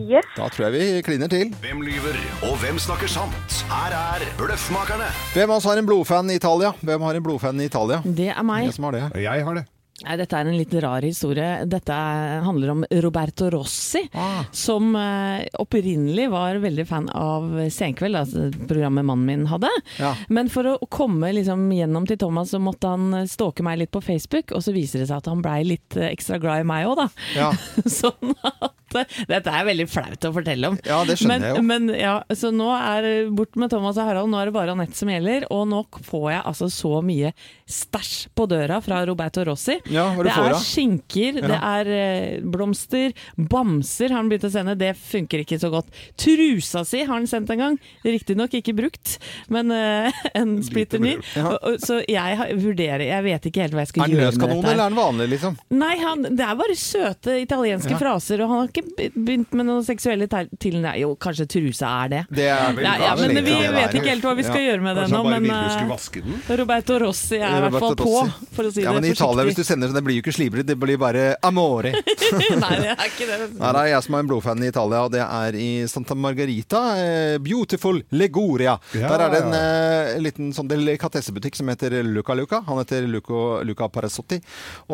Speaker 12: Yes.
Speaker 1: Da tror jeg vi kliner til.
Speaker 13: Hvem lyver, og hvem snakker sant? Her er Bløffmakerne.
Speaker 1: Hvem av oss har en blodfan i Italia? Hvem har en blodfan i Italia?
Speaker 3: Det er meg.
Speaker 1: Jeg som har det.
Speaker 2: Jeg har det.
Speaker 3: Nei, dette er en litt rar historie. Dette er- handler om Roberto Rossi,
Speaker 1: Ah.
Speaker 3: som eh, opprinnelig var veldig fan av Senkveld, altså programmet mannen min hadde.
Speaker 1: Ja.
Speaker 3: Men for å komme liksom, gjennom til Thomas, så måtte han eh, stalke meg litt på Facebook, og så viser det seg at han blei litt eh, ekstra glad i meg òg, da.
Speaker 1: Ja.
Speaker 3: sånn at eh, Dette er veldig flaut å fortelle om.
Speaker 1: Ja, det skjønner
Speaker 3: men,
Speaker 1: jeg jo.
Speaker 3: Men ja, så nå er det bort med Thomas og Harald, nå er det bare Anette som gjelder. Og nå får jeg altså så mye stæsj på døra fra Roberto Rossi.
Speaker 1: Ja, hva er det
Speaker 3: det
Speaker 1: du får
Speaker 3: er
Speaker 1: da?
Speaker 3: skinker,
Speaker 1: Ja.
Speaker 3: det er eh, blomster, bamser har han begynt å sende. Det funker ikke så godt. Trusa si har han sendt en gang, riktignok ikke brukt, men eh, en splitter ny. Og- og- Så jeg har- vurderer, jeg vet ikke helt hva jeg skal
Speaker 1: Er den
Speaker 3: gjøre med
Speaker 1: løskanon,
Speaker 3: dette. her.
Speaker 1: eller er den vanlig, liksom?
Speaker 3: Nei, han, det er bare søte italienske
Speaker 1: Ja.
Speaker 3: fraser, og han har ikke be- begynt med noen seksuelle te- til... Nei, jo, kanskje trusa er det.
Speaker 1: Det er vel
Speaker 3: ja, ja,
Speaker 1: kanskje
Speaker 3: men
Speaker 1: litt
Speaker 3: vi
Speaker 1: av det
Speaker 3: vet
Speaker 1: der.
Speaker 3: ikke helt hva vi skal
Speaker 1: Ja.
Speaker 3: gjøre med det
Speaker 2: Kanskje
Speaker 3: nå,
Speaker 2: han
Speaker 3: men
Speaker 2: bare ville du skulle
Speaker 3: eh,
Speaker 2: vaske den?
Speaker 3: Roberto Rossi er i hvert fall
Speaker 1: Roberto
Speaker 3: på,
Speaker 1: Rossi.
Speaker 3: for å si
Speaker 1: ja, men
Speaker 3: det
Speaker 1: I Italia, hvis du sender det, det blir jo ikke slibrig, det blir bare amore.
Speaker 3: Nei, det er ikke det.
Speaker 1: Her er jeg som er en blodfan i Italia, og det er i Santa Margarita. eh, Beautiful Legoria.
Speaker 2: Ja.
Speaker 1: Der er det en eh, liten sånn delikatessebutikk som heter Luca Luca. Han heter Luco, Luca Parasotti.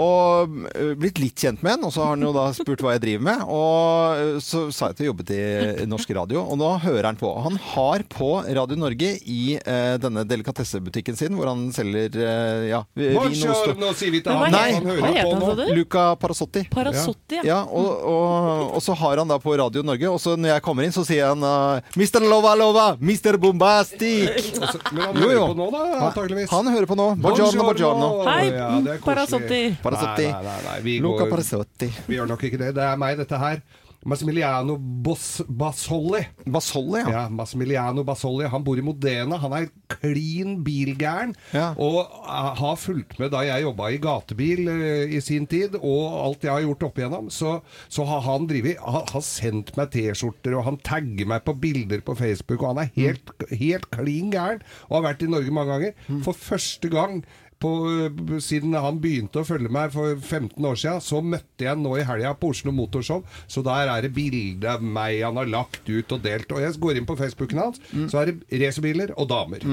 Speaker 1: Og eh, blitt litt kjent med han, og så har han jo da spurt hva jeg driver med. Og Og så sa jeg at jeg jobbet i norsk radio, og nå hører han på. Han har på Radio Norge i eh, denne delikatessebutikken sin, hvor han selger eh, ja, vin og ost og-
Speaker 2: Buongiorno, sier vi til
Speaker 1: Nei,
Speaker 2: han. Han hører
Speaker 1: hva
Speaker 2: jo
Speaker 1: heter
Speaker 2: på
Speaker 1: han,
Speaker 2: nå.
Speaker 1: sa du? Luca Parasotti.
Speaker 2: Parasotti,
Speaker 1: ja.
Speaker 2: ja.
Speaker 1: og, og, og så har han da på Radio Norge, og så når jeg kommer inn, så sier han uh, Mr. Lova Lova, Mr. Bombastic.
Speaker 2: Og så- Altså, men han hører på nå, da, antageligvis.
Speaker 1: Han hører på nå. Buongiorno, buongiorno.
Speaker 2: Ja, det er koselig.
Speaker 1: Parasotti.
Speaker 2: Nei, nei, nei, nei. Vi
Speaker 1: Luca
Speaker 2: går-
Speaker 1: Parasotti.
Speaker 2: Vi gjør nok ikke det. Det er meg, dette her. Massimiliano Bos Basolli.
Speaker 1: Basolli,
Speaker 2: ja. Massimiliano Basolli. Han bor i Modena. Han er klin bilgæren. Og eh, har fulgt med da jeg jobba i gatebil eh, i sin tid, og alt jeg har gjort opp igjennom. Så, så har han drevet har, har sendt meg T-skjorter, og han tagger meg på bilder på Facebook, og han er helt, helt klin gæren. Og har vært i Norge mange ganger. For første gang på, eh, siden han begynte å følge meg for 15 år siden, så møtte jeg han nå i helga på Oslo Motorshow. Så der er det bilde av meg han har lagt ut og delt. Og jeg går inn på Facebooken hans, så er det racerbiler og damer.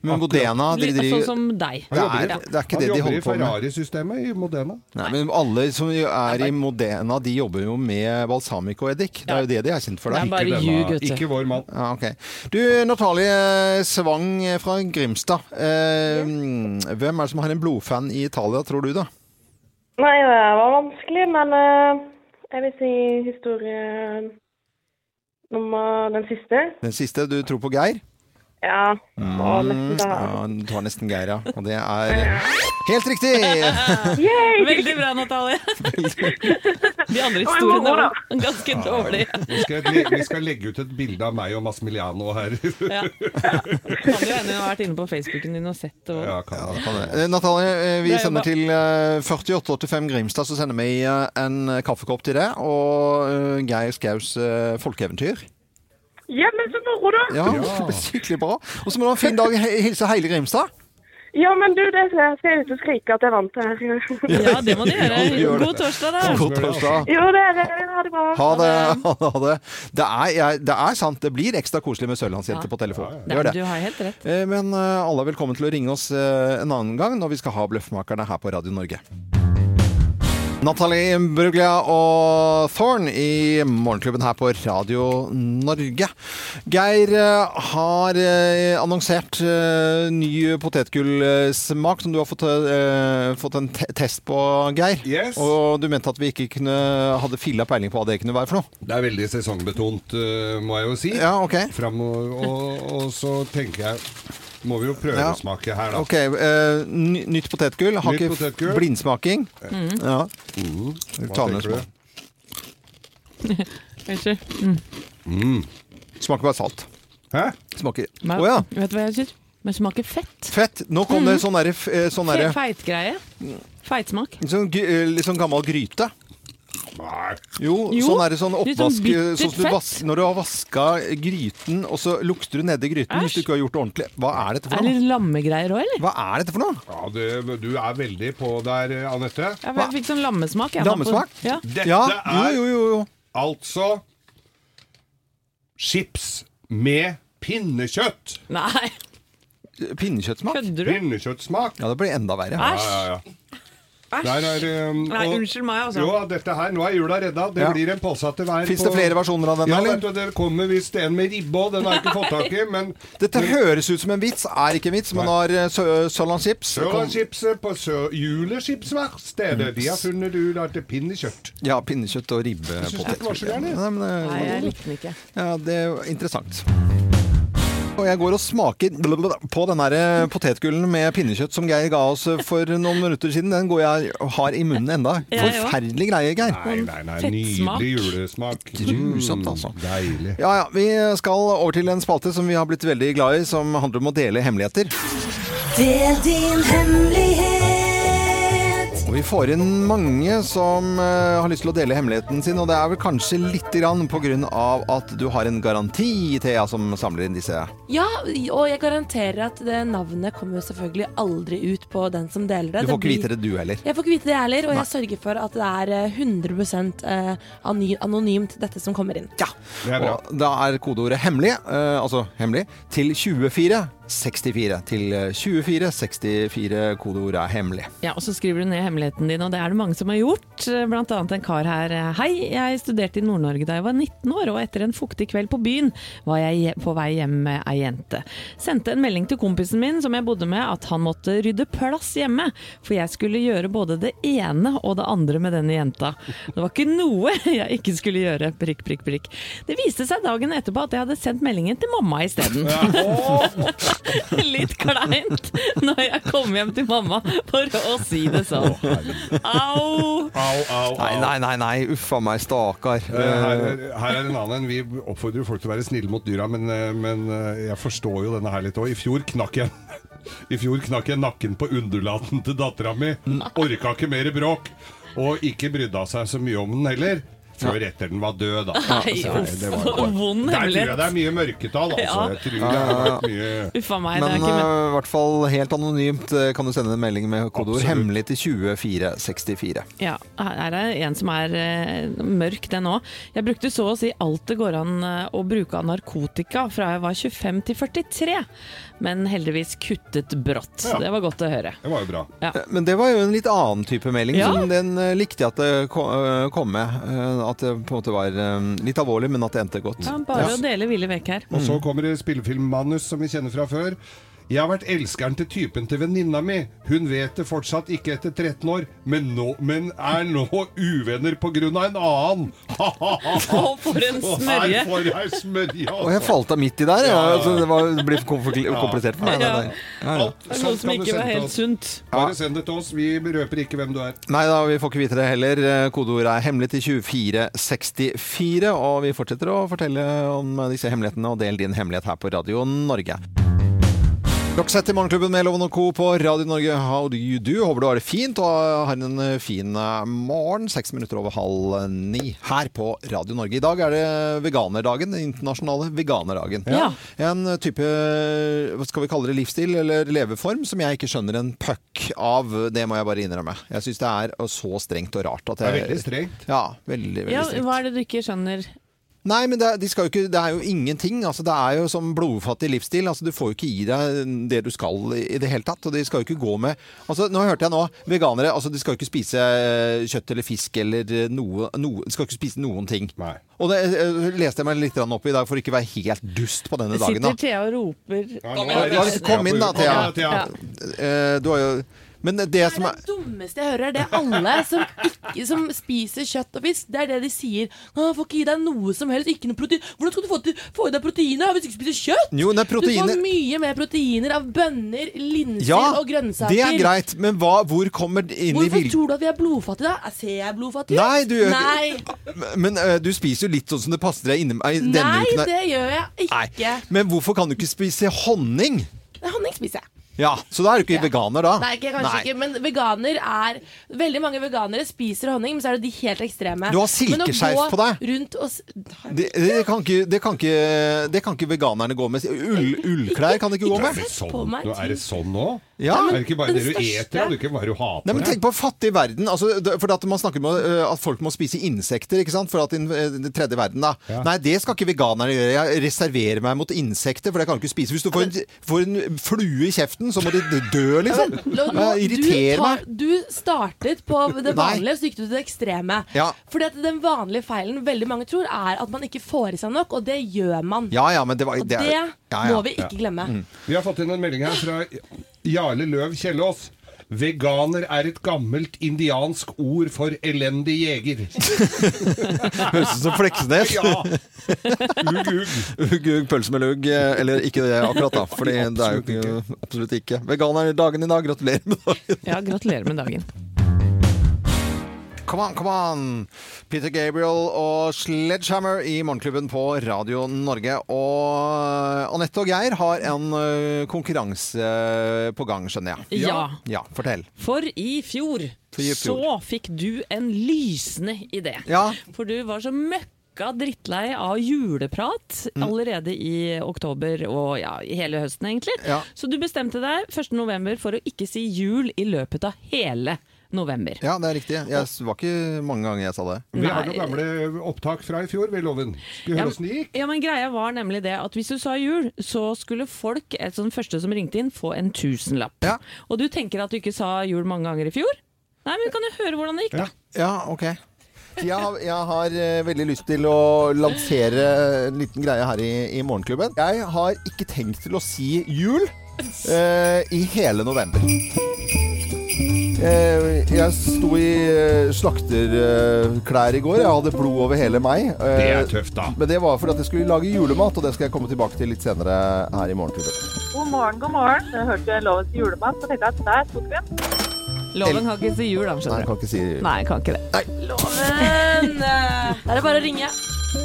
Speaker 1: Men Modena de driver
Speaker 3: Sånn som deg.
Speaker 1: Det er- det er ikke det de holder på med.
Speaker 2: Han jobber i Ferrari-systemet i Modena.
Speaker 1: Nei, men alle som jo er i Modena, de jobber jo med balsamico og eddik. Det er jo det de er kjent for.
Speaker 2: Det
Speaker 1: Da.
Speaker 2: er bare Ikke denne- ljug, vet du. ikke vår mann.
Speaker 1: Ja, ok. Du, Natalie Svang fra Grimstad. Eh, Hvem er det som har en blodfan i Italia, tror du da?
Speaker 12: Nei, det var vanskelig, men eh, jeg vil si historie eh, nummer den siste.
Speaker 1: Den siste, du tror på Geir?
Speaker 12: Ja. Og
Speaker 1: Mm,
Speaker 12: nesten da.
Speaker 1: ja, du tar nesten Geir, ja. Og det er helt riktig!
Speaker 3: Veldig bra, Natalie. De andre
Speaker 12: Og jeg må
Speaker 3: historiene
Speaker 12: gå, da.
Speaker 3: var ganske dårlige.
Speaker 2: Vi skal, le- vi skal legge ut et bilde av meg og Massimiliano her.
Speaker 3: Ja. Kan jo hende hun har vært inne på Facebooken din og sett og
Speaker 2: Ja, kan
Speaker 1: Kan det. Eh, Natalie, eh, vi
Speaker 3: Det er
Speaker 1: sender
Speaker 3: bare-
Speaker 1: til eh, 4885 Grimstad, så sender vi eh, en kaffekopp til deg og eh, Geir Skaus eh, folkeeventyr.
Speaker 12: Ja, men så moro, da!
Speaker 1: Ja, skikkelig bra. Og så må du ha en fin dag. He- Hilse hele Grimstad.
Speaker 12: Ja, men du, det skal jeg ut og skrike at jeg vant det her.
Speaker 1: Ja, det må du gjøre. Ja, gjør det. God
Speaker 3: torsdag,
Speaker 1: da. God torsdag.
Speaker 12: Jo, dere. Ha det bra.
Speaker 1: Ha det. Ha det. Det, er, jeg, det er sant. Det blir ekstra koselig med sørlandsjenter
Speaker 3: Ja.
Speaker 1: på telefon.
Speaker 3: Nei,
Speaker 1: Gjør det.
Speaker 3: Du har helt rett.
Speaker 1: Eh, Men eh, alle er velkommen til å ringe oss eh, en annen gang når vi skal ha Bløffmakerne her på Radio Norge. Natalie Bruglia og Thorn i Morgenklubben her på Radio Norge. Geir eh, har eh, annonsert eh, ny potetgullsmak som du har fått, eh, fått en te test på, Geir.
Speaker 2: Yes.
Speaker 1: Og du mente at vi ikke kunne, hadde filla peiling på hva det kunne være for noe.
Speaker 2: Det er veldig sesongbetont, eh, må jeg jo si.
Speaker 1: Ja, ok.
Speaker 2: Fram og, og, og så tenker jeg Må vi jo
Speaker 1: Ja.
Speaker 2: prøvesmake her, da.
Speaker 1: Ok, eh, ny- nytt potetgull. Har
Speaker 2: Nytt
Speaker 1: ikke
Speaker 2: potetgull.
Speaker 1: blindsmaking.
Speaker 2: Mm.
Speaker 1: Ja.
Speaker 2: Hva
Speaker 1: Ta ned
Speaker 2: tenker du?
Speaker 1: smak.
Speaker 3: Unnskyld. Mm.
Speaker 1: Smaker bare salt.
Speaker 2: Hæ?
Speaker 1: Smaker Å
Speaker 3: Men-
Speaker 1: ja.
Speaker 3: Vet du hva jeg syns? Men smaker fett.
Speaker 1: Fett. Nå kom
Speaker 3: Mm.
Speaker 1: det sånn derre f- eh, sånn derre-
Speaker 3: Fe- Feitgreie. Feitsmak.
Speaker 1: sånn, gy- eh, Litt sånn gammel gryte. Jo,
Speaker 3: Jo,
Speaker 1: sånn er det sånn
Speaker 3: litt sånn
Speaker 1: oppvask eh,
Speaker 3: bittert
Speaker 1: sånn som du
Speaker 3: fett.
Speaker 1: vas Når du har vaska gryten, og så lukter du nedi gryten hvis du ikke har gjort det ordentlig. Hva er dette
Speaker 3: Er
Speaker 1: for
Speaker 3: det
Speaker 1: noe?
Speaker 3: litt lammegreier òg, eller?
Speaker 1: Hva er dette for noe?
Speaker 2: Ja, det, du er veldig på der, eh, Anette.
Speaker 3: Ja, for Jeg fikk sånn lammesmak. jeg, da, på-
Speaker 2: Lammesmak?
Speaker 3: Ja.
Speaker 2: Dette
Speaker 1: Ja,
Speaker 2: er
Speaker 1: jo, jo, jo.
Speaker 2: altså chips med pinnekjøtt.
Speaker 3: Nei,
Speaker 1: Pinnekjøttsmak?
Speaker 3: Kødder du?
Speaker 2: Pinnekjøttsmak.
Speaker 1: Ja, det blir enda verre.
Speaker 2: Ja, ja, ja. Der er, um,
Speaker 3: Nei,
Speaker 2: og-
Speaker 3: unnskyld meg, altså.
Speaker 2: Jo, dette her, nå er jula redda. Det
Speaker 1: Ja.
Speaker 2: blir en påse til hver.
Speaker 1: Fins det flere versjoner av den,
Speaker 2: Ja,
Speaker 1: eller?
Speaker 2: vet du, det kommer visst en med ribbe òg. Den har jeg ikke fått tak i. Men
Speaker 1: Dette høres ut som en vits, er ikke en vits. Man har eh, sø- sørlandschips.
Speaker 2: Sørlandschips på sør juleskipsverkstedet. De har funnet ut at det er pinnekjøtt.
Speaker 1: Ja, pinnekjøtt og ribbe.
Speaker 2: Jeg synes ikke det var så gærent.
Speaker 1: Nei, men, eh,
Speaker 3: Nei, jeg likte den ikke.
Speaker 1: Ja, det er jo interessant. Og jeg går og smaker blablabla på den der eh, potetgullen med pinnekjøtt som Geir ga oss eh, for noen minutter siden. Den går jeg og har i munnen enda.
Speaker 2: Ja, ja.
Speaker 1: Forferdelig greie, Geir.
Speaker 2: Nei, nei, nei.
Speaker 1: Fettsmak.
Speaker 2: Nydelig julesmak.
Speaker 1: Grusomt, altså.
Speaker 2: Mm, Deilig.
Speaker 1: Ja, ja. Vi skal over til en spalte som vi har blitt veldig glad i, som handler om å dele hemmeligheter.
Speaker 4: Del din hemmelighet.
Speaker 1: Og vi får inn mange som eh, har lyst til å dele hemmeligheten sin, og det er vel kanskje litt grann på grunn av at du har en garanti, Thea, som samler inn disse.
Speaker 14: Ja, og jeg garanterer at det navnet kommer jo selvfølgelig aldri ut på den som deler det.
Speaker 1: Du får ikke vite det du heller.
Speaker 14: Jeg får ikke vite det heller, og
Speaker 1: Nei.
Speaker 14: jeg sørger for at det er eh, 100 eh, any- anonymt dette som kommer inn.
Speaker 1: Og da er kodeordet 'hemmelig', eh, altså 'hemmelig', til 24 64 til eh, 24. 64 kodeord er hemmelig.
Speaker 3: Ja, og så skriver du ned hemmeligheten din, og det er det mange som har gjort. Blant annet en kar her. Hei, jeg studerte i Nord-Norge da jeg var 19 år, og etter en fuktig kveld på byen var jeg je- på vei hjem med ei jente. Sendte en melding til kompisen min som jeg bodde med at han måtte rydde plass hjemme, for jeg skulle gjøre både det ene og det andre med denne jenta. Det var ikke noe jeg ikke skulle gjøre, prikk, prikk, prikk. Det viste seg dagen etterpå at jeg hadde sendt meldingen til mamma isteden. Litt kleint når jeg kom hjem til mamma for å si det sånn. Au!
Speaker 1: Nei, nei, nei, nei. uff a meg, stakkar.
Speaker 2: Eh, Her, er- her er en annen. Vi oppfordrer folk til å være snille mot dyra, men, eh, men eh, jeg forstår jo denne her litt òg. I fjor knakk jeg I fjor knakk jeg nakken på undulaten til dattera mi. Orka ikke mer bråk. Og ikke brydda seg så mye om den heller. Før etter den var død, da.
Speaker 3: Nei,
Speaker 2: Så
Speaker 3: uff,
Speaker 2: altså, det var jo-
Speaker 3: altså, vond
Speaker 2: Der tror
Speaker 3: hemmelighet.
Speaker 2: jeg det er mye mørketall, altså.
Speaker 3: Ja.
Speaker 2: Jeg tror det har vært mye
Speaker 3: Uff a meg. det
Speaker 1: Men eh,
Speaker 3: er
Speaker 1: i
Speaker 3: ikke men-
Speaker 1: hvert fall helt anonymt eh, kan du sende en melding med kodeord 'hemmelig' til 2464.
Speaker 3: Ja, her er en som er eh, mørk, den òg. Jeg brukte så å si alt det går an eh, å bruke av narkotika fra jeg var 25 til 43, men heldigvis kuttet brått.
Speaker 1: Ja.
Speaker 3: Det var godt å høre.
Speaker 2: Det var jo bra.
Speaker 1: Eh, Men det var jo en litt annen type melding.
Speaker 3: Ja.
Speaker 1: Som den eh, likte jeg at det ko- eh, kom med. Eh, At det på en måte var eh, litt alvorlig, men at det endte godt.
Speaker 3: Ja, bare å dele ville vekk her.
Speaker 2: Og så
Speaker 1: Mm.
Speaker 2: kommer det spillefilmmanus som vi kjenner fra før. Jeg har vært elskeren til typen til venninna mi. Hun vet det fortsatt ikke etter 13 år, men, nå, men er nå uvenner pga. en annen. Å,
Speaker 3: Å, for en smørje.
Speaker 2: For ei smørje, altså.
Speaker 1: Og jeg falt av midt i der. Ja.
Speaker 2: Ja.
Speaker 1: Altså, det, var, det ble for kompli- komplisert for meg. det
Speaker 2: Ja.
Speaker 1: der. Ja, ja.
Speaker 2: Alt sånt kan Sånn du sende til oss. Bare send det til oss. Vi røper ikke hvem du er.
Speaker 1: Nei da, vi får ikke vite det heller. Kodeordet er hemmelig til 2464. Og vi fortsetter å fortelle om disse hemmelighetene, og del din hemmelighet her på Radio Norge. Roxette i Morgenklubben med Loven og Co. på Radio Norge. How do you do? Håper du har det fint og har en fin eh, morgen. Seks minutter over halv eh, ni her på Radio Norge. I dag er det veganerdagen. Den internasjonale veganerdagen.
Speaker 3: Ja.
Speaker 1: En type hva skal vi kalle det, livsstil eller leveform som jeg ikke skjønner en puck av. Det må jeg bare innrømme. Jeg syns det er så strengt og rart. At
Speaker 2: Det
Speaker 1: jeg,
Speaker 2: er veldig strengt.
Speaker 1: Ja, veldig, veldig
Speaker 3: Ja,
Speaker 1: strengt.
Speaker 3: hva er det du ikke skjønner?
Speaker 1: Nei, men det, er- de skal jo ikke, det er jo ingenting. Altså, det er jo som blodfattig livsstil. Altså, du får jo ikke i deg det du skal i det hele tatt. Og de skal jo ikke gå med altså, Nå hørte jeg nå veganere altså, De skal jo ikke spise eh, kjøtt eller fisk eller eh, noe, noe De skal ikke spise noen ting. Og det eh, leste jeg meg litt grann opp i dag for ikke å være helt dust på denne dagen. Da.
Speaker 3: Sitter Thea og roper
Speaker 1: Ja, Kom inn da, Thea.
Speaker 3: Ja.
Speaker 1: Eh, Du har jo Men det som er
Speaker 14: Det dummeste jeg hører, er det alle som, ikke, som spiser kjøtt og fisk. Det er det de sier. Å, 'Får ikke i deg noe som helst. Ikke noe protein.' Hvordan skal du få, til, få i deg proteiner da, hvis du ikke spiser kjøtt?
Speaker 1: Jo, det er
Speaker 14: Du
Speaker 1: proteiner.
Speaker 14: får mye mer proteiner av bønner, linser
Speaker 1: Ja,
Speaker 14: og grønnsaker.
Speaker 1: det er greit, men hva, hvor kommer det inn i
Speaker 14: Hvorfor
Speaker 1: vil...
Speaker 14: tror du at vi er blodfattige, da? Ser jeg blodfattig ut?
Speaker 1: Nei, du gjør ikke-
Speaker 14: Nei,
Speaker 1: Men eh, du spiser jo litt sånn som det passer deg inni eh, denne
Speaker 14: Nei
Speaker 1: uken her.
Speaker 14: det gjør jeg ikke.
Speaker 1: Nei. Men hvorfor kan du ikke spise honning?
Speaker 14: Honning spiser jeg.
Speaker 1: Ja, Så da er du ikke veganer, da.
Speaker 14: Nei, ikke, kanskje
Speaker 1: Nei.
Speaker 14: ikke, men veganer er Veldig mange veganere spiser honning, men så er det de helt ekstreme.
Speaker 1: Du har
Speaker 14: Men å
Speaker 1: silkeskjerf
Speaker 14: gå
Speaker 1: på deg.
Speaker 14: Rundt og s-
Speaker 1: Det, det, kan ikke, det, kan ikke, det kan ikke veganerne gå med. Ull, ullklær kan de ikke gå
Speaker 2: Er
Speaker 1: med.
Speaker 2: det sånn, nå er det sånn nå?
Speaker 1: Ja.
Speaker 2: Er det ikke bare det du
Speaker 1: Den største-
Speaker 2: eter, og du ikke bare du har
Speaker 1: Nei,
Speaker 2: på
Speaker 1: men
Speaker 2: deg?
Speaker 1: Tenk på fattig verden. Altså, det- for at Man snakker om øh, at folk må spise insekter ikke sant? for at den øh, den tredje verden. da. Nei, det skal ikke veganerne gjøre. Jeg reserverer meg mot insekter, for det kan du ikke spise. Hvis du får en, får en flue i kjeften, så må de dø, liksom.
Speaker 14: Nå- nå-
Speaker 1: Ja,
Speaker 14: du
Speaker 1: Irriterer
Speaker 14: tar-
Speaker 1: meg.
Speaker 14: Du startet på det
Speaker 1: Nei.
Speaker 14: vanlige, så gikk du til det ekstreme.
Speaker 1: Ja.
Speaker 14: Fordi at den vanlige feilen veldig mange tror, er at man ikke får i seg nok, og det gjør man.
Speaker 1: Ja ja, men det var
Speaker 14: Og det
Speaker 1: ja, ja.
Speaker 14: må vi ikke glemme. Mm.
Speaker 2: Vi har fått inn en melding her fra Jarle Løv Kjellås. Veganer er et gammelt indiansk ord for elendig jeger.
Speaker 1: Høres ut som Fleksnes.
Speaker 2: Ja.
Speaker 1: Ugg, ugg, pølse med lugg. eh, Eller ikke det akkurat, da. Fordi det er jo ikke, absolutt ikke. Veganer dagen i dag, gratulerer med dagen.
Speaker 3: Ja, gratulerer med dagen.
Speaker 1: Come on, come on! Peter Gabriel og Sledgehammer i Morgenklubben på Radio Norge. Og Anette og Geir har en ø, konkurranse eh, på gang, skjønner jeg.
Speaker 3: Ja.
Speaker 1: Ja, fortell.
Speaker 3: For i fjor,
Speaker 1: For i fjor.
Speaker 3: så fikk du en lysende idé. For du var så møkka drittlei av juleprat allerede i oktober og ja, i hele høsten, egentlig. Så du bestemte deg 1.11. for å ikke si jul i løpet av hele november.
Speaker 1: Ja, det er riktig. Jeg s- var ikke mange ganger jeg sa det.
Speaker 3: Vi har noen
Speaker 2: gamle opptak fra i fjor ved Loven. Skal
Speaker 3: Ja, men- Ja, men greia var nemlig det at hvis du sa jul, så skulle folk, et sånn første som ringte inn, få en tusenlapp. Og du tenker at du ikke sa jul mange ganger i fjor? Nei, men vi kan jo høre hvordan det gikk, da.
Speaker 1: Ja, ok. Jeg har, jeg har eh, veldig lyst til å lansere en liten greie her i, i Morgenklubben. Jeg har ikke tenkt til å si jul eh, i hele november. Eh, jeg sto i eh, slakterklær i går. Jeg hadde blod over hele meg. Eh,
Speaker 2: Det er tøft, da.
Speaker 1: Men det var fordi at jeg skulle lage julemat, og det skal jeg komme tilbake til litt senere her i Morgenklubben.
Speaker 15: God morgen, god morgen. Jeg hørte Lovens julemat, så tenkte jeg at der tok vi den.
Speaker 3: Loven kan ikke si jul, da. skjønner
Speaker 1: Nei, jeg kan ikke si
Speaker 3: du. Nei, kan ikke det.
Speaker 14: Men eh, da er det bare å ringe.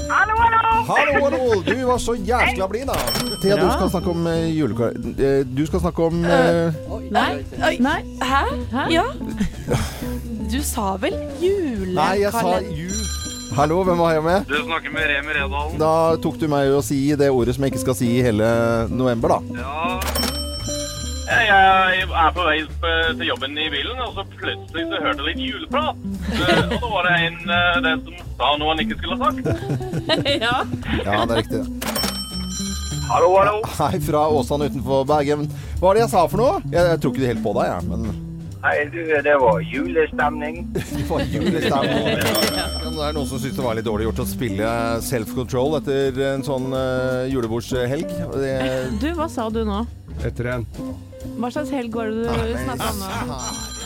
Speaker 15: Hallo, hallo!
Speaker 1: Hallo, hallo! Du var så jækla blid, da. Thea, du skal snakke om eh, julekar... eh, Du skal snakke om eh,
Speaker 14: Nei. Oi. Hæ? Ja. Du sa vel julekalender?
Speaker 1: Nei, jeg sa jul... Hallo, hvem var jeg med?
Speaker 16: Du snakker med Remi Redalen.
Speaker 1: Da tok du meg i å si det ordet som jeg ikke skal si i hele november, da.
Speaker 16: Ja. Jeg jeg er på vei sp- til jobben i bilen, og så plutselig så hørte jeg litt juleprat. Eh, Og da var det en eh, det som sa noe han ikke skulle ha sagt.
Speaker 3: ja.
Speaker 1: Ja, det er riktig.
Speaker 16: Hallo, hallo.
Speaker 1: Hei, fra Åsane utenfor Bergen. Hva var det jeg sa for noe? Jeg, jeg tror ikke det helt på deg, jeg. Men
Speaker 17: Hei, du, det var julestemning.
Speaker 1: det var julestemning. Men det er noen som syns det var litt dårlig gjort å spille self-control etter en sånn eh, julebordshelg. og det-
Speaker 3: Du, hva sa du nå?
Speaker 2: Etter en
Speaker 3: Hva slags helg var det du snakka om nå?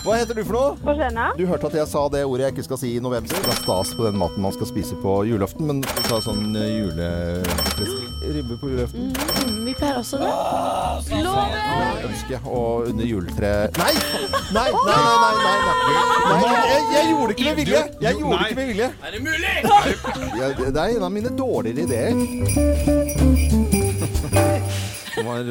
Speaker 1: Hva heter du for noe?
Speaker 15: Forsena?
Speaker 1: Du hørte at jeg sa det ordet jeg ikke skal si i november. Det er stas på den maten man skal spise på julaften, men du sa sånn eh, jule... Ribbe på julaften.
Speaker 14: Mm, Vi pleier også det. Loven!
Speaker 1: Ønske og under juletreet Nei! Nei, nei, nei, nei, nei, nei. nei jeg, jeg gjorde det ikke med vilje! Jeg gjorde det ikke med vilje.
Speaker 16: Er det mulig?
Speaker 1: Jeg, det er en av mine dårligere ideer. Det var-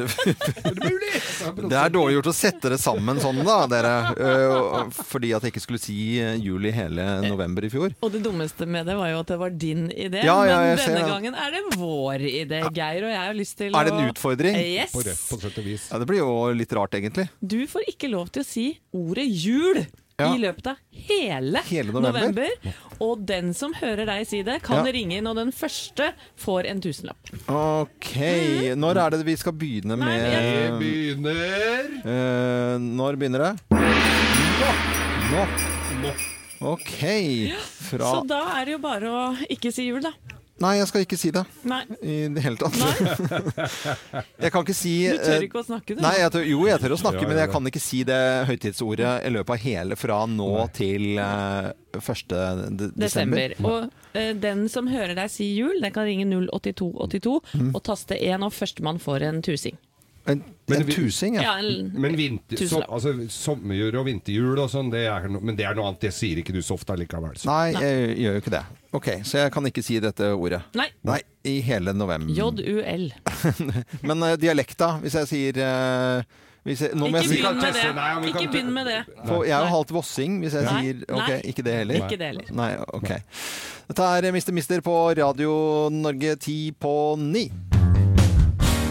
Speaker 1: Det er dårlig gjort å sette det sammen sånn, da, dere. Eh, Fordi at jeg ikke skulle si eh, jul i hele november i fjor.
Speaker 3: Og det dummeste med det var jo at det var din idé,
Speaker 1: Ja, ja,
Speaker 3: men
Speaker 1: jeg
Speaker 3: denne
Speaker 1: ser det.
Speaker 3: gangen er det vår idé, Geir. Og jeg har lyst til å
Speaker 1: Er det en utfordring?
Speaker 3: Yes.
Speaker 2: altså,
Speaker 1: Ja, det blir jo litt rart, egentlig.
Speaker 3: Du får ikke lov til å si ordet jul
Speaker 1: Ja.
Speaker 3: i løpet av hele,
Speaker 1: Hele november.
Speaker 3: november. Og den som hører deg si det, kan
Speaker 1: Ja.
Speaker 3: ringe inn, og den første får en tusenlapp.
Speaker 1: Ok. Når er det vi skal begynne med
Speaker 2: Vi begynner
Speaker 1: Eh, Når begynner det? Nå.
Speaker 2: Nå.
Speaker 1: Ok. Fra
Speaker 3: Så da er det jo bare å ikke si jul, da.
Speaker 1: Nei, jeg skal ikke si det.
Speaker 3: Nei.
Speaker 1: I det hele tatt. jeg kan ikke si
Speaker 3: Du tør
Speaker 1: eh,
Speaker 3: ikke å snakke, du.
Speaker 1: Nei, jeg tør, jo, jeg tør å snakke,
Speaker 2: Ja,
Speaker 1: men
Speaker 2: ja,
Speaker 1: jeg
Speaker 2: ja.
Speaker 1: kan ikke si det høytidsordet i løpet av hele fra nå til eh, 1. de-
Speaker 3: Desember.
Speaker 1: desember.
Speaker 3: Og eh, den som hører deg si jul, den kan ringe 08282
Speaker 1: Mm.
Speaker 3: og taste 1, og førstemann får en tusing.
Speaker 1: En, en tusing, ja.
Speaker 3: Ja, en-
Speaker 2: Men vinter, som,
Speaker 3: Tusenlapp.
Speaker 2: altså, sommerjul og vinterjul og sånn, det er no, men det er noe annet. Det sier ikke du så ofte allikevel. Så.
Speaker 1: Nei, jeg gjør jo ikke det. Ok, Så jeg kan ikke si dette ordet.
Speaker 3: Nei.
Speaker 1: I hele november.
Speaker 3: JUL.
Speaker 1: Men eh, dialekta, hvis jeg sier eh, hvis jeg, nå må
Speaker 3: Ikke
Speaker 1: jeg si-
Speaker 3: begynn med det. Ikke begynn med det.
Speaker 1: For jeg er jo halvt vossing, hvis jeg
Speaker 3: Nei.
Speaker 1: sier Ok,
Speaker 3: Nei.
Speaker 1: ikke det heller.
Speaker 3: Ikke det heller.
Speaker 1: Nei, ok. Dette er Mister Mister på Radio Norge ti på ni.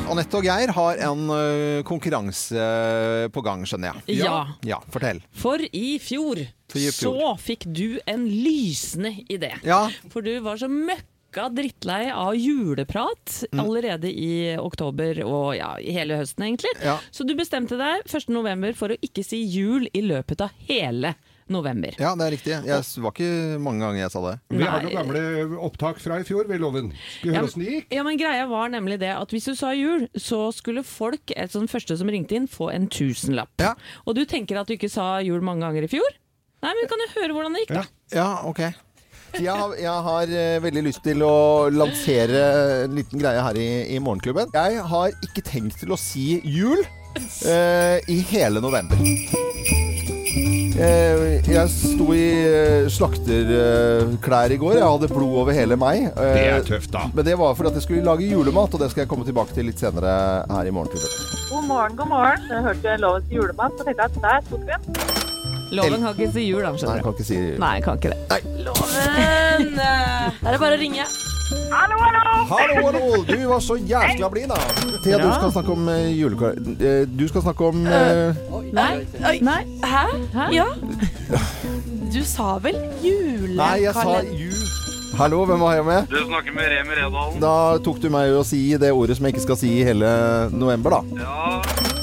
Speaker 1: Anette og Geir har en ø, konkurranse øh, på gang, skjønner jeg.
Speaker 3: Ja.
Speaker 1: Ja, fortell.
Speaker 3: For i fjor,
Speaker 1: For i fjor.
Speaker 3: så fikk du en lysende idé. For du var så møkka drittlei av juleprat
Speaker 1: Mm.
Speaker 3: allerede i oktober og ja, i hele høsten, egentlig. Så du bestemte deg 1.11. for å ikke si jul i løpet av hele november.
Speaker 1: Ja, det er riktig. Jeg s- var ikke mange ganger jeg sa det.
Speaker 2: Vi har noen gamle opptak fra i fjor ved Loven. Skal vi høre åssen det gikk?
Speaker 3: Ja, men greia var nemlig det at hvis du sa jul, så skulle folk, et sånn første som ringte inn, få en tusenlapp. Og du tenker at du ikke sa jul mange ganger i fjor? Nei, men vi kan jo høre hvordan det gikk, da.
Speaker 1: Ja, ok. Jeg har, jeg har eh, veldig lyst til å lansere en liten greie her i, i Morgenklubben. Jeg har ikke tenkt til å si jul eh, i hele november. Eh, jeg sto i eh, slakterklær i går. Jeg hadde blod over hele meg. Eh,
Speaker 2: Det er tøft, da.
Speaker 1: Men det var fordi at jeg skulle lage julemat, og det skal jeg komme tilbake til litt senere her i Morgenklubben.
Speaker 15: God morgen, god morgen. Jeg hørte Lovens julemat, så tenkte jeg at der tok vi den.
Speaker 3: Loven kan ikke si jul, altså. da.
Speaker 1: Nei, jeg kan ikke si
Speaker 3: Nei, kan ikke det.
Speaker 14: Loven! eh, Da er det bare å ringe.
Speaker 15: Hallo, hallo!
Speaker 1: Hallo, hallo! Du var så jækla blid, da. Thea, du skal snakke om eh, julekar... eh, Du skal snakke om eh,
Speaker 14: Nei. Oi. Hæ? Ja. Du sa vel julekalender?
Speaker 1: Nei, jeg sa jul... Hallo, hvem var jeg med?
Speaker 16: Du snakker med Remi Redalen.
Speaker 1: Da tok du meg i å si det ordet som jeg ikke skal si i hele november, da.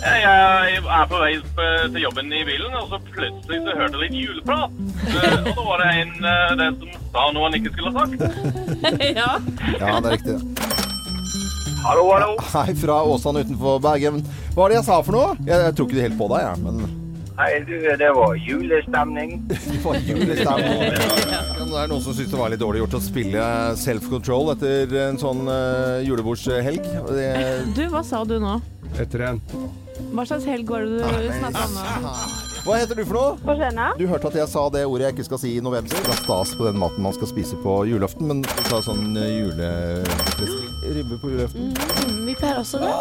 Speaker 16: Jeg jeg er på vei eh, til jobben i bilen, og så plutselig så hørte jeg litt juleprat. Eh, Og da var det en eh, der som sa noe han ikke skulle ha sagt.
Speaker 14: ja.
Speaker 1: Ja, det er riktig.
Speaker 16: Hallo, hallo.
Speaker 1: Hei, fra Åsane utenfor Bergen. Hva var det jeg sa for noe? Jeg, jeg tror ikke det helt på deg, jeg. Men
Speaker 17: Hei, du, det var julestemning.
Speaker 1: det var julestemning. Ja, Det er noen som syns det var litt dårlig gjort å spille self-control etter en sånn eh, julebordshelg. Og det-
Speaker 3: Du, hva sa du nå?
Speaker 2: Etter en.
Speaker 3: Hva slags helg var det du snakka om nå?
Speaker 1: Hva heter du for noe?
Speaker 15: Porsena?
Speaker 1: Du hørte at jeg sa det ordet jeg ikke skal si i november. Det er stas på den maten man skal spise på julaften, men du sa sånn eh, jule... Ribbe på julaften.
Speaker 14: Mm-hmm.
Speaker 1: Ah,
Speaker 14: Mm, vi pleier også det.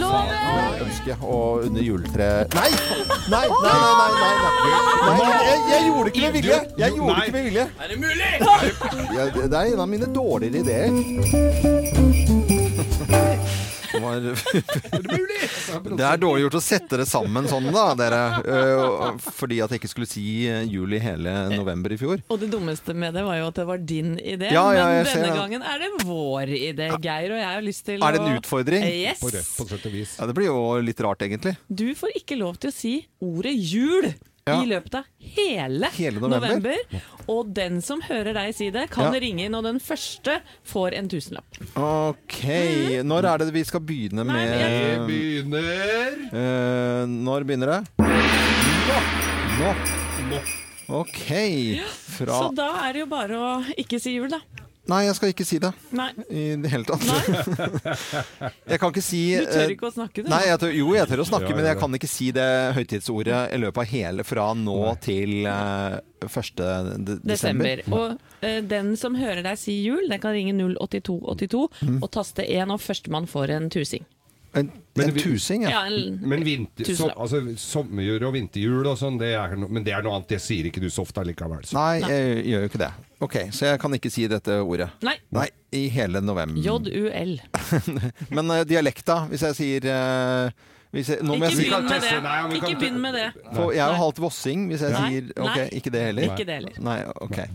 Speaker 14: Loven!
Speaker 1: Ønske og under juletreet Nei! Nei, nei, nei, nei, nei, nei. nei jeg, jeg gjorde det ikke med vilje. Jeg gjorde det ikke med vilje.
Speaker 9: Er det mulig?
Speaker 1: Jeg, det er en av mine dårligere ideer. Det var- Det
Speaker 2: altså,
Speaker 1: er dårlig gjort å sette det sammen sånn, da, dere. Eh, Fordi at jeg ikke skulle si eh, jul i hele november i fjor.
Speaker 3: Og det dummeste med det var jo at det var din idé,
Speaker 1: Ja, ja, jeg
Speaker 3: men
Speaker 1: ser
Speaker 3: denne
Speaker 1: det.
Speaker 3: gangen er det vår idé, Geir. Og jeg har lyst til
Speaker 1: Er det en
Speaker 3: å-
Speaker 1: utfordring?
Speaker 3: Yes.
Speaker 1: Ja, det blir jo litt rart, egentlig.
Speaker 3: Du får ikke lov til å si ordet jul
Speaker 1: Ja.
Speaker 3: i løpet av hele,
Speaker 1: Hele november.
Speaker 3: november. Og den som hører deg si det, kan
Speaker 1: Ja.
Speaker 3: ringe inn, og den første får en tusenlapp.
Speaker 1: OK. Når er det vi skal begynne med
Speaker 2: Vi begynner
Speaker 1: Eh, Når begynner det? Nå.
Speaker 2: Nå.
Speaker 1: OK.
Speaker 3: Så
Speaker 1: Fra
Speaker 3: da er det jo bare å ikke si jul, da.
Speaker 1: Nei, jeg skal ikke si det.
Speaker 3: Nei.
Speaker 1: I det hele tatt. Jeg kan ikke si
Speaker 3: Du tør
Speaker 1: eh,
Speaker 3: ikke å snakke, du.
Speaker 1: Nei, jeg tør, jo, jeg tør å snakke,
Speaker 2: Ja,
Speaker 1: men
Speaker 2: ja,
Speaker 1: jeg
Speaker 2: ja.
Speaker 1: kan ikke si det høytidsordet i løpet av hele fra nå til eh, 1. de-
Speaker 3: Desember.
Speaker 1: desember.
Speaker 3: Og eh, den som hører deg si jul, den kan ringe 08282
Speaker 1: Mm.
Speaker 3: og taste 1, og førstemann får en tusing.
Speaker 1: En,
Speaker 2: Men
Speaker 1: en
Speaker 2: vi-
Speaker 1: tusing, ja.
Speaker 3: Ja, en-
Speaker 2: Men vinter, som,
Speaker 3: Tusenlapp.
Speaker 2: altså, sommerjul og vinterjul og sånn, det er no, men det er noe annet. Det sier ikke du så ofte likevel. Så.
Speaker 1: Nei, jeg gjør jo ikke det. Ok, Så jeg kan ikke si dette ordet.
Speaker 3: Nei.
Speaker 1: I hele november.
Speaker 3: JUL.
Speaker 1: Men eh, dialekta, hvis jeg sier eh, hvis jeg, nå må
Speaker 3: Ikke
Speaker 1: jeg si
Speaker 3: begynn med det. Ikke begynn med det.
Speaker 1: For jeg er jo halvt vossing, hvis jeg
Speaker 3: Nei.
Speaker 1: sier Ok,
Speaker 3: Nei.
Speaker 1: ikke det heller.
Speaker 3: Ikke det heller.
Speaker 1: Nei, ok.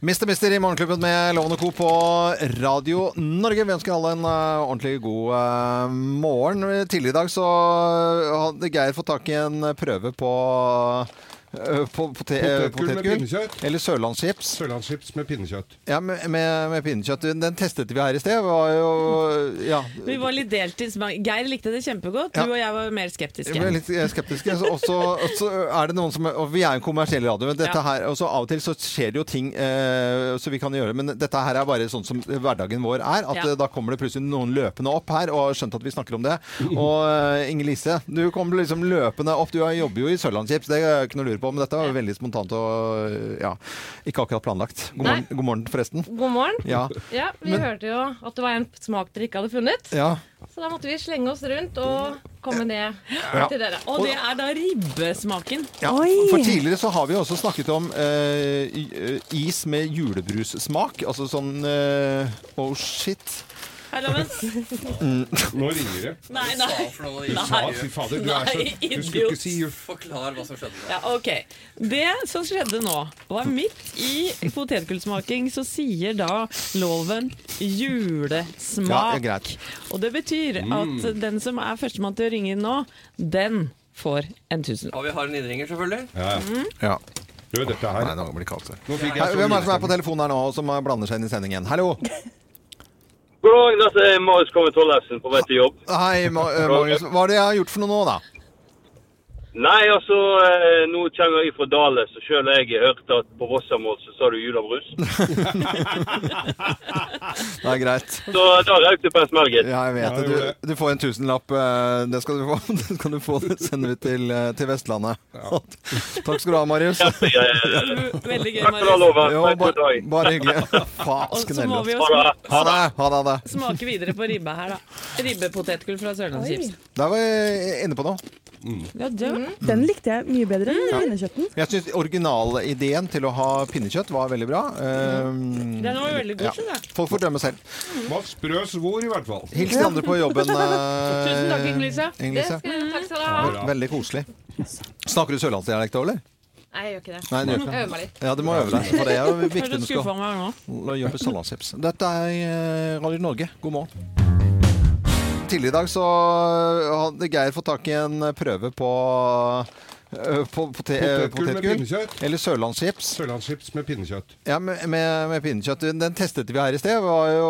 Speaker 1: Mister Mister i Morgenklubben med Loven og Co. på Radio Norge. Vi ønsker alle en eh, ordentlig god eh, morgen. Tidligere i dag så eh, hadde Geir fått tak i en prøve på eh, på, pote- eh,
Speaker 2: Potetgull med pinnekjøtt.
Speaker 1: Eller sørlandschips.
Speaker 2: Sørlandschips med pinnekjøtt.
Speaker 1: Ja, med, med, med pinnekjøtt. Den testet vi her i sted. Var jo, ja,
Speaker 3: Vi var litt delt i smak. Geir likte det kjempegodt,
Speaker 1: Ja.
Speaker 3: du og jeg var mer skeptiske.
Speaker 1: Jeg ble litt eh, skeptisk. altså, Og så og så er det noen som Og vi er jo en kommersiell radio, men dette
Speaker 3: Ja.
Speaker 1: her, og så av og til så skjer det jo ting eh, så vi kan gjøre Men dette her er bare sånn som hverdagen vår er. At
Speaker 3: Ja.
Speaker 1: eh, da kommer det plutselig noen løpende opp her og har skjønt at vi snakker om det. Og eh, Inger Lise, du kom liksom løpende opp. Du er- jobber jo i Sørlandschips, det er ikke noe å lure på, men dette var jo veldig spontant og ja, ikke akkurat planlagt. God
Speaker 18: Nei.
Speaker 1: morgen, god morgen forresten.
Speaker 18: God morgen.
Speaker 1: Ja.
Speaker 18: Ja, Vi
Speaker 1: Men-
Speaker 18: hørte jo at det var en smak dere ikke hadde funnet.
Speaker 1: Ja.
Speaker 18: Så da måtte vi slenge oss rundt og komme ned
Speaker 1: Ja.
Speaker 18: til dere.
Speaker 1: Og det
Speaker 18: er da ribbesmaken.
Speaker 1: Ja, for tidligere så har vi også snakket om eh, i- eh, is med julebrussmak. Altså sånn eh, Oh shit.
Speaker 3: Hei, Loven.
Speaker 2: Nå ringer det.
Speaker 3: Nei,
Speaker 9: Du
Speaker 3: nei.
Speaker 9: sa for noe, du
Speaker 3: Nei.
Speaker 9: sa-
Speaker 2: Fy fader, du er så-
Speaker 3: Nei,
Speaker 2: du skulle
Speaker 3: idiot.
Speaker 2: ikke si jul.
Speaker 9: Forklar hva som skjedde.
Speaker 3: Ja, ok. Det som skjedde nå, var midt i potetgullsmaking, så sier da loven
Speaker 1: Ja,
Speaker 3: julesmak.
Speaker 1: det er greit.
Speaker 3: Og det betyr at
Speaker 9: Mm.
Speaker 3: den som er førstemann til å ringe inn nå, den får en tusen.
Speaker 9: Og vi har en innringer, selvfølgelig.
Speaker 1: Ja.
Speaker 2: Du, dette her.
Speaker 1: Nei, nå blir det kaldt. her.
Speaker 2: Nå fikk jeg
Speaker 1: Hei,
Speaker 2: så
Speaker 1: Hvem er det som er på telefonen her nå, som eh, blander seg inn i sendingen? Hallo!
Speaker 19: God dag, dette er Marius Komme Tollefsen på vei til jobb.
Speaker 1: Hei, Ma eh, Magnus. Hva er det jeg har gjort for noe nå, da?
Speaker 19: Nei, altså, eh, nå kommer jeg fra Dale, så selv jeg hørte at på Vossamål så sa du julebrus.
Speaker 1: Det er greit.
Speaker 19: Så da røk du på en smell, gitt.
Speaker 1: Ja, jeg vet det. Du, du får en tusenlapp. eh, Det skal du få. Det skal du få. Det sender vi til, eh, til Vestlandet. Takk skal du ha, Marius.
Speaker 19: eh,
Speaker 3: Veldig gøy,
Speaker 1: Takk for all
Speaker 3: Marius.
Speaker 1: over. Jo, bare, bare hyggelig.
Speaker 3: Og så
Speaker 1: Fasken
Speaker 3: må
Speaker 1: heller.
Speaker 3: vi jo smake-
Speaker 1: Ha det. Ha det, ha det.
Speaker 3: Smake videre på ribba her, da. Ribbepotetgull fra Sørlandschips.
Speaker 1: Der var jeg inne på noe.
Speaker 3: Ja, det
Speaker 18: Mm.
Speaker 3: var-
Speaker 6: Den likte jeg mye bedre enn
Speaker 1: Ja.
Speaker 6: pinnekjøtten.
Speaker 1: Jeg syns originalideen til å ha pinnekjøtt var veldig bra. Um,
Speaker 6: Den var veldig god, synes jeg.
Speaker 1: Folk får dømme selv.
Speaker 2: Var sprø svor, i hvert fall.
Speaker 1: Hils de andre på jobben. eh,
Speaker 18: Tusen takk, Ingelise.
Speaker 1: Ingelise.
Speaker 18: Det skal- Takk skal du ha.
Speaker 1: Ja, Veldig koselig. Snakker du sørlandsdialekt òg, eller?
Speaker 3: Mm.
Speaker 18: Nei, jeg gjør ikke det.
Speaker 1: Nei, du gjør ikke
Speaker 18: jeg øver meg litt.
Speaker 1: Ja, du må øve deg. For det er jo
Speaker 18: Er du
Speaker 1: viktig når du
Speaker 18: skuffet
Speaker 1: skal
Speaker 18: meg nå?
Speaker 1: La oss jobbe salatchips. Dette er eh, Radio Norge. God morgen. Tidligere i dag så eh, hadde Geir fått tak i en prøve på eh, på pote- eh,
Speaker 2: Potetgull med
Speaker 1: potetgull.
Speaker 2: pinnekjøtt.
Speaker 1: Eller sørlandschips.
Speaker 2: Sørlandschips med pinnekjøtt.
Speaker 1: Ja, med, med, med pinnekjøtt. Den testet vi her i sted. Var jo,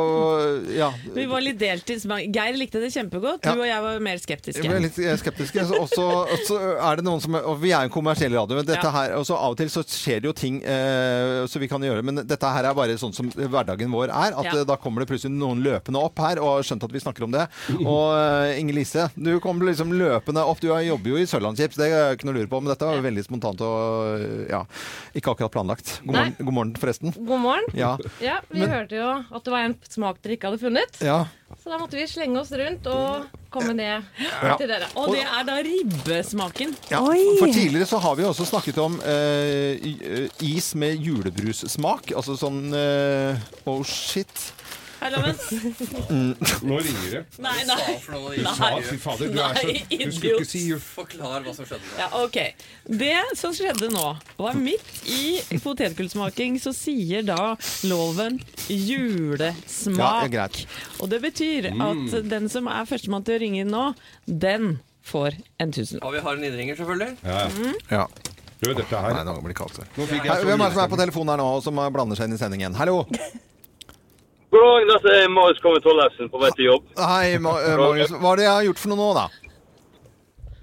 Speaker 1: ja.
Speaker 3: Vi var litt deltids. Geir likte det kjempegodt. Du
Speaker 1: Ja.
Speaker 3: og jeg var
Speaker 1: Vi
Speaker 3: mer
Speaker 1: er
Speaker 3: skeptiske.
Speaker 1: litt eh, skeptiske. så- Og så og så er det noen som Og vi er jo en kommersiell radio, men dette
Speaker 3: Ja.
Speaker 1: her Og så av og til så skjer det jo ting eh, så vi kan gjøre Men dette her er bare sånn som hverdagen vår er. At
Speaker 3: Ja.
Speaker 1: eh, da kommer det plutselig noen løpende opp her og har skjønt at vi snakker om det. Og eh, Inger Lise, du kom liksom løpende opp. Du er- jobber jo i Sørlandschips, det er ikke noe å lure på, men dette var jo veldig spontant og ja, ikke akkurat planlagt. God
Speaker 18: Nei.
Speaker 1: morgen, god morgen forresten.
Speaker 18: God morgen.
Speaker 1: Ja.
Speaker 18: Ja, Vi
Speaker 1: Men-
Speaker 18: hørte jo at det var en smak dere ikke hadde funnet,
Speaker 1: Ja.
Speaker 18: så da måtte vi slenge oss rundt og komme ned
Speaker 1: Ja.
Speaker 18: til dere.
Speaker 1: Og det
Speaker 18: er da ribbesmaken.
Speaker 1: Ja, for tidligere så har vi jo også snakket om eh, i- eh, is med julebrussmak. Altså sånn eh, Oh shit. Mm.
Speaker 2: Nå ringer det.
Speaker 3: Nei,
Speaker 2: Du
Speaker 3: nei.
Speaker 2: sa for noe, du sa, fy fader, du er så-
Speaker 3: Nei,
Speaker 2: du skulle
Speaker 3: idiot.
Speaker 2: ikke si juff.
Speaker 20: Forklar hva som skjedde.
Speaker 3: Ja, ok. Det som skjedde nå, var midt i potetgullsmaking, så sier da loven
Speaker 1: Ja,
Speaker 3: julesmak.
Speaker 1: det er greit.
Speaker 3: og det betyr
Speaker 20: Mm.
Speaker 3: at den som er førstemann til å ringe inn nå, den får en tusen.
Speaker 20: Og vi har en innringer, selvfølgelig.
Speaker 1: Mm. Ja. Du, dette her. Nei, nå blir det kaldt. her.
Speaker 20: Nå fikk jeg
Speaker 1: Hei,
Speaker 20: så
Speaker 1: Hvem er det som er på telefonen her nå, og som eh, blander seg inn i sendingen? Hallo!
Speaker 19: God dag, dette er Marius Komme Tollefsen på vei til jobb.
Speaker 1: Hei, Ma eh, Magnus. Hva er det jeg har gjort for noe nå, da?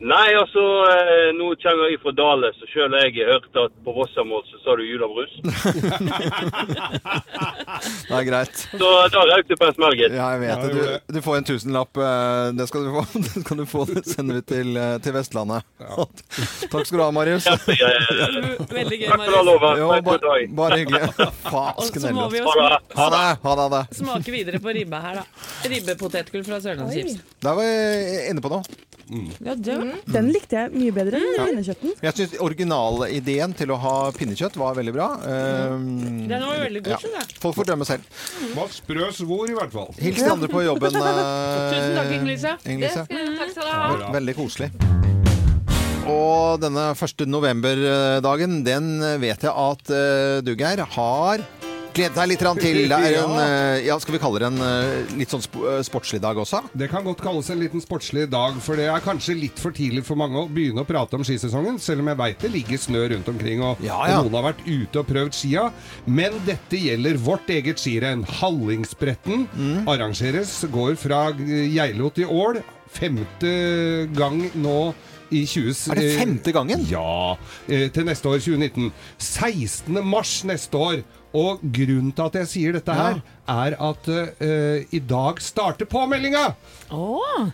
Speaker 19: Nei, altså, eh, nå kommer jeg fra Dale, så selv jeg har hørt at på Vossamål så sa du julebrus.
Speaker 1: Det er greit.
Speaker 19: Så da røk du på en smell, gitt.
Speaker 1: Ja, jeg vet det. Du, du får en tusenlapp. eh, Det skal du få. Det skal du få. Det sender vi til, eh, til Vestlandet. Takk skal du ha, Marius.
Speaker 19: eh,
Speaker 3: Veldig gøy,
Speaker 1: Takk for all
Speaker 3: Marius.
Speaker 1: over. Jo, bare, bare hyggelig.
Speaker 3: Og
Speaker 1: Fasken
Speaker 3: så må vi
Speaker 1: heller.
Speaker 3: jo smake-
Speaker 1: Ha det. Ha det. Ha det.
Speaker 3: Smake videre på ribba her, da. Ribbepotetgull fra Sørlandschips.
Speaker 1: Der var jeg inne på noe.
Speaker 6: Den likte jeg mye bedre enn
Speaker 18: Mm.
Speaker 1: Ja.
Speaker 6: pinnekjøtten.
Speaker 1: Jeg syns originalideen til å ha pinnekjøtt var veldig bra.
Speaker 18: Mm.
Speaker 1: Um,
Speaker 6: Den var veldig god,
Speaker 1: ja.
Speaker 6: synes jeg.
Speaker 1: Folk får dømme selv.
Speaker 2: Var sprø svor, i hvert fall.
Speaker 1: Hils de andre på jobben. eh,
Speaker 18: Tusen takk, Ingelise.
Speaker 1: Ingelise.
Speaker 18: Det skal- Takk skal du ha.
Speaker 1: Ja, Veldig koselig. Og denne 1. novemberdagen, den vet jeg at eh, du, Geir, har gledet deg litt grann til. Det er en, eh, ja, skal vi kalle det en eh, litt sånn sp eh, sportslig dag også?
Speaker 2: Det kan godt kalles en liten sportslig dag, for det er kanskje litt for tidlig for mange å begynne å prate om skisesongen, selv om jeg veit det ligger snø rundt omkring og,
Speaker 1: ja.
Speaker 2: og noen har vært ute og prøvd skia. Men dette gjelder vårt eget skirenn. Hallingsbretten
Speaker 1: Mm.
Speaker 2: arrangeres, går fra Geilo til Ål. Femte gang nå i 20...
Speaker 1: Er det femte gangen?
Speaker 2: Ja. eh, Til neste år, 2019. 16. mars neste år. Og grunnen til at jeg sier dette her, er at eh, i dag starter påmeldinga!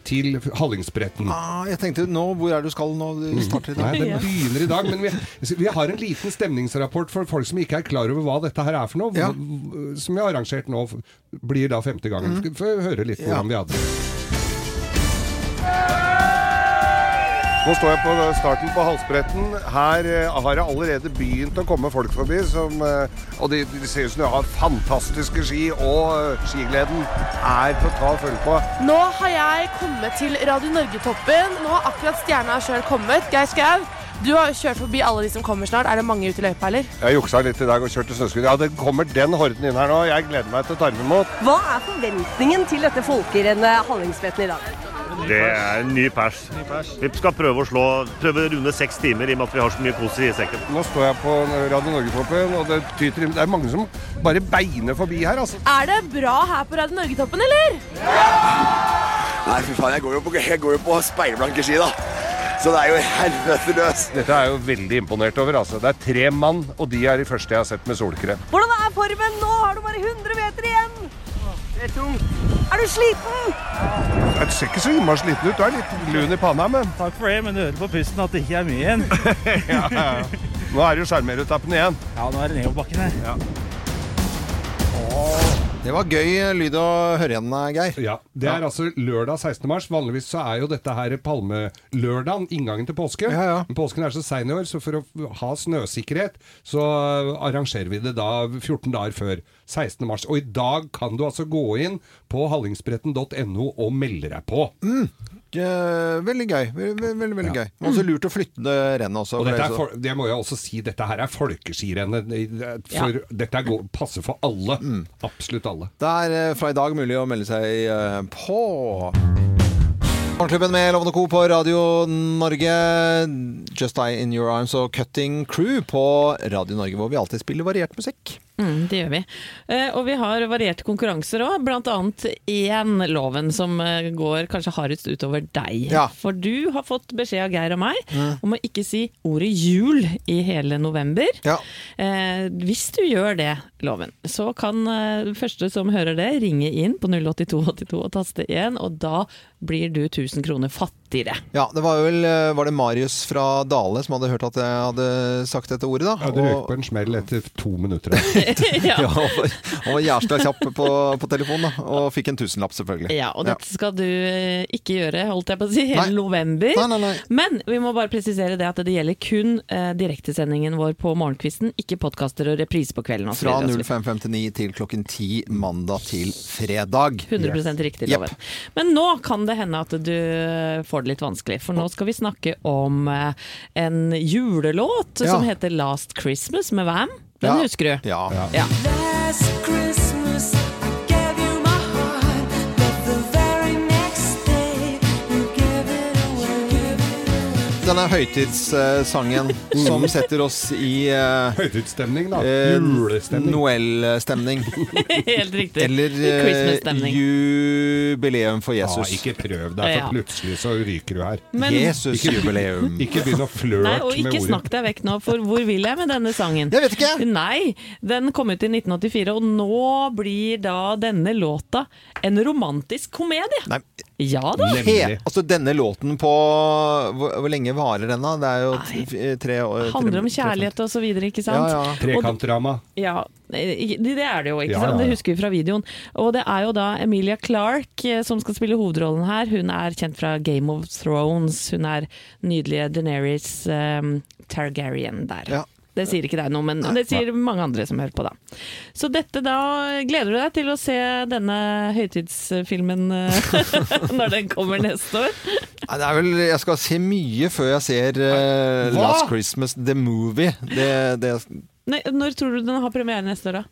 Speaker 2: Til Hallingsbretten.
Speaker 1: Ah, jeg tenkte nå, hvor er det du skal nå? Du starter i dag.
Speaker 2: Nei, det begynner i dag, men vi, vi har en liten stemningsrapport for folk som ikke er klar over hva dette her er for noe. hv- Som vi har arrangert nå, f- blir da femte gangen. Skal vi få høre litt hvordan vi hadde det.
Speaker 21: Nå står jeg på starten på Halsbretten. Her eh, har det allerede begynt å komme folk forbi. Som, eh, og de, de ser ut som de har fantastiske ski, og eh, skigleden er på ta og følge på.
Speaker 22: Nå har jeg kommet til Radio Norge-toppen. Nå har akkurat stjerna sjøl kommet. Geir Skau, du har jo kjørt forbi alle de som kommer snart. Er det mange ute i løypa, eller?
Speaker 21: Jeg juksa litt i dag og kjørte snøscooter. Ja, det kommer den horden inn her nå. Jeg gleder meg til å ta den imot.
Speaker 23: Hva er forventningen til dette folkerennet Hallingsbretten i dag?
Speaker 24: Det er en ny pers. Vi skal prøve å slå, prøve å runde seks timer i og med at vi har så mye koser i sekken.
Speaker 21: Nå står jeg på Radio Norge-toppen, og det tyter i Det er mange som bare beiner forbi her, altså.
Speaker 22: Er det bra her på Radio Norge-toppen, eller?
Speaker 25: Nei, fy faen, jeg går jo på, jeg går jo på speilblanke ski, da. Så det er jo helvete løs.
Speaker 21: Dette er jeg jo veldig imponert over. altså. Det er tre mann, og de er de første jeg har sett med solkrem.
Speaker 23: Hvordan er formen nå? Har du bare 100 meter igjen? Det er tungt. Er du sliten?
Speaker 21: Jeg ser ikke så innmari sliten ut. Du er litt lun i panna, men
Speaker 26: Takk for det, men du hører på pusten at det ikke er mye igjen.
Speaker 21: ja, ja. ja. Nå er det jo sjarmeretappen igjen.
Speaker 26: Ja, nå er det nedoverbakken her.
Speaker 21: Ja.
Speaker 1: Det var gøy lyd å høre igjen, eh, Geir.
Speaker 2: Ja, Det er altså lørdag 16. mars. Vanligvis så er jo dette her palmelørdagen, inngangen til påske. Men Påsken er så sein i år, så for å ha snøsikkerhet, så arrangerer vi det da 14 dager før 16. mars. Og i dag kan du altså gå inn på hallingsbretten.no og melde deg på.
Speaker 1: Eh, veldig gøy. Veldig, veldig, veldig gøy. Og så lurt å flytte det rennet også.
Speaker 2: Og
Speaker 1: for
Speaker 2: dette er,
Speaker 1: det-
Speaker 2: fol- det må jeg også si, dette her er folkeskirennet. i- For
Speaker 1: Ja.
Speaker 2: Dette er go- passer for alle. Absolutt alle.
Speaker 1: Det er eh, fra i dag mulig å melde seg eh, på. Morgenklubben med Lovende Co på Radio Norge. Just Die In Your Arms og Cutting Crew på Radio Norge, hvor vi alltid spiller variert musikk.
Speaker 3: Mm, det gjør vi. Eh, og vi har varierte konkurranser òg, bl.a. én loven som eh, går kanskje hardest utover deg. For du har fått beskjed av Geir og meg
Speaker 18: Mm.
Speaker 3: om å ikke si ordet jul i hele november. Eh, hvis du gjør det, loven, så kan eh, første som hører det, ringe inn på 08282 og taste 1, og da blir du 1000 kroner fattigere.
Speaker 1: Ja, det var jo vel eh, Var det Marius fra Dale som hadde hørt at jeg hadde sagt dette ordet, da?
Speaker 2: Ja, du røk på en smell etter to minutter.
Speaker 1: ja. han var- han var jævla kjapp på, på telefonen, da. Og fikk en tusenlapp, selvfølgelig.
Speaker 3: Ja, og dette skal du eh, ikke gjøre, holdt jeg på å si, hele november. Men vi må bare presisere det at det gjelder kun eh, direktesendingen vår på morgenkvisten, ikke podkaster og reprise på kvelden. og så
Speaker 1: Fra
Speaker 3: videre og så videre.
Speaker 1: 05.59 til klokken 10 mandag til fredag.
Speaker 3: 100 riktig,
Speaker 1: Jepp.
Speaker 3: Loven. Men nå kan det hende at du eh, får det litt vanskelig, for nå skal vi snakke om eh, en julelåt
Speaker 4: Ja.
Speaker 3: som heter 'Last Christmas' med Vam. Den
Speaker 4: Ja.
Speaker 3: husker du?
Speaker 1: Ja.
Speaker 3: ja.
Speaker 4: Last Christmas, I gave you my heart, but the very next day, you gave it away.
Speaker 1: Denne høytidssangen
Speaker 2: Mm.
Speaker 1: som setter oss i uh,
Speaker 2: Høytidsstemning, da. Eh,
Speaker 1: Julestemning. Noel-stemning.
Speaker 3: Helt riktig.
Speaker 1: Eller eh,
Speaker 3: Christmas-stemning.
Speaker 1: jubileum for
Speaker 2: Ja,
Speaker 1: Jesus.
Speaker 2: ikke prøv deg, for
Speaker 3: Ja.
Speaker 2: plutselig så ryker du her.
Speaker 3: Men-
Speaker 1: Jesus-jubileum.
Speaker 2: Ikke begynn å flørte
Speaker 3: Nei,
Speaker 2: med
Speaker 3: og
Speaker 2: ordet.
Speaker 3: ikke snakk deg vekk nå, for hvor vil jeg med denne sangen?
Speaker 1: Jeg vet ikke!
Speaker 3: Nei, den kom ut i 1984, og nå blir da denne låta en romantisk komedie.
Speaker 1: Nei.
Speaker 3: Ja da.
Speaker 1: He, altså denne låten på Hvor, hvor lenge varer den, da? Det er jo t- f- tre år
Speaker 3: Handler om kjærlighet og så videre, ikke sant? Og-
Speaker 2: Trekantdrama.
Speaker 3: Ja, det det er det jo, ikke
Speaker 2: Ja,
Speaker 3: sant?
Speaker 2: ja, ja.
Speaker 3: Det husker vi fra videoen. Og det er jo da Emilia Clarke eh, som skal spille hovedrollen her. Hun er kjent fra Game of Thrones. Hun er nydelige Deneris Targaryen der. Det sier ikke deg noe, men det sier mange andre som hører på, da. Så dette da Gleder du deg til å se denne høytidsfilmen eh, når den kommer neste år?
Speaker 1: Nei, det er vel Jeg skal se mye før jeg ser eh,
Speaker 3: Hva?
Speaker 1: Last Christmas The Movie. Det, det
Speaker 3: Nei, når tror du den har premiere neste år, da?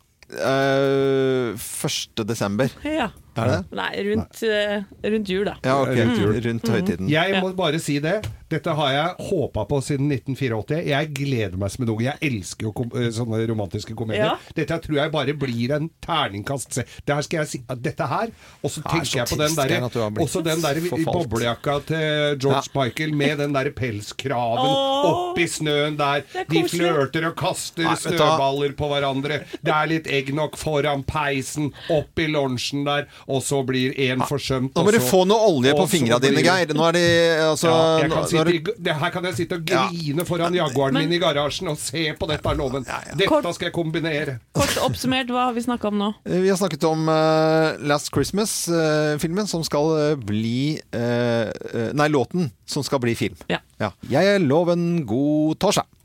Speaker 1: eh, 1. desember.
Speaker 3: Ja.
Speaker 1: Er det det?
Speaker 3: Nei, rundt, eh, rundt jul, da.
Speaker 1: Ja, ok.
Speaker 3: Mm.
Speaker 1: Rundt, høytiden.
Speaker 2: Jeg må bare si det. Dette har jeg håpa på siden 1984. Jeg gleder meg som en unge. Jeg elsker jo kom eh, sånne romantiske komedier.
Speaker 3: Ja.
Speaker 2: Dette tror jeg bare blir en terningkast se. Det her skal jeg si at Dette her. Og så
Speaker 1: Ja, så
Speaker 2: tenker jeg på den
Speaker 1: trist, Sten,
Speaker 2: derre
Speaker 1: at du har blitt
Speaker 2: Også den der
Speaker 1: forfalt.
Speaker 2: boblejakka til George Michael med den derre pelskraven
Speaker 1: Åh.
Speaker 2: oppi snøen der.
Speaker 1: Det er
Speaker 2: De
Speaker 1: koselig.
Speaker 2: flørter og kaster
Speaker 1: Nei, vet du hva?
Speaker 2: snøballer på hverandre. Det er litt eggnog foran peisen, opp i lunsjen der, og så blir én forsømt.
Speaker 1: Nå
Speaker 2: og
Speaker 1: må du
Speaker 2: så-
Speaker 1: få noe olje på
Speaker 2: og så
Speaker 1: fingra dine,
Speaker 2: blir-
Speaker 1: Geir. Nå er de altså,
Speaker 2: ja, jeg
Speaker 1: nå-
Speaker 2: kan
Speaker 1: nå
Speaker 2: sitte,
Speaker 1: er det-
Speaker 2: i- det her kan jeg sitte og grine foran Jaguaren min i garasjen og se på dette er loven. Dette skal jeg kombinere.
Speaker 3: Kort oppsummert, hva har vi snakka om nå?
Speaker 1: Eh, Vi har snakket om eh, Last Christmas-filmen som skal eh, bli eh, eh, Nei, låten som skal bli film.
Speaker 3: Ja.
Speaker 1: Jeg er loven god torsdag.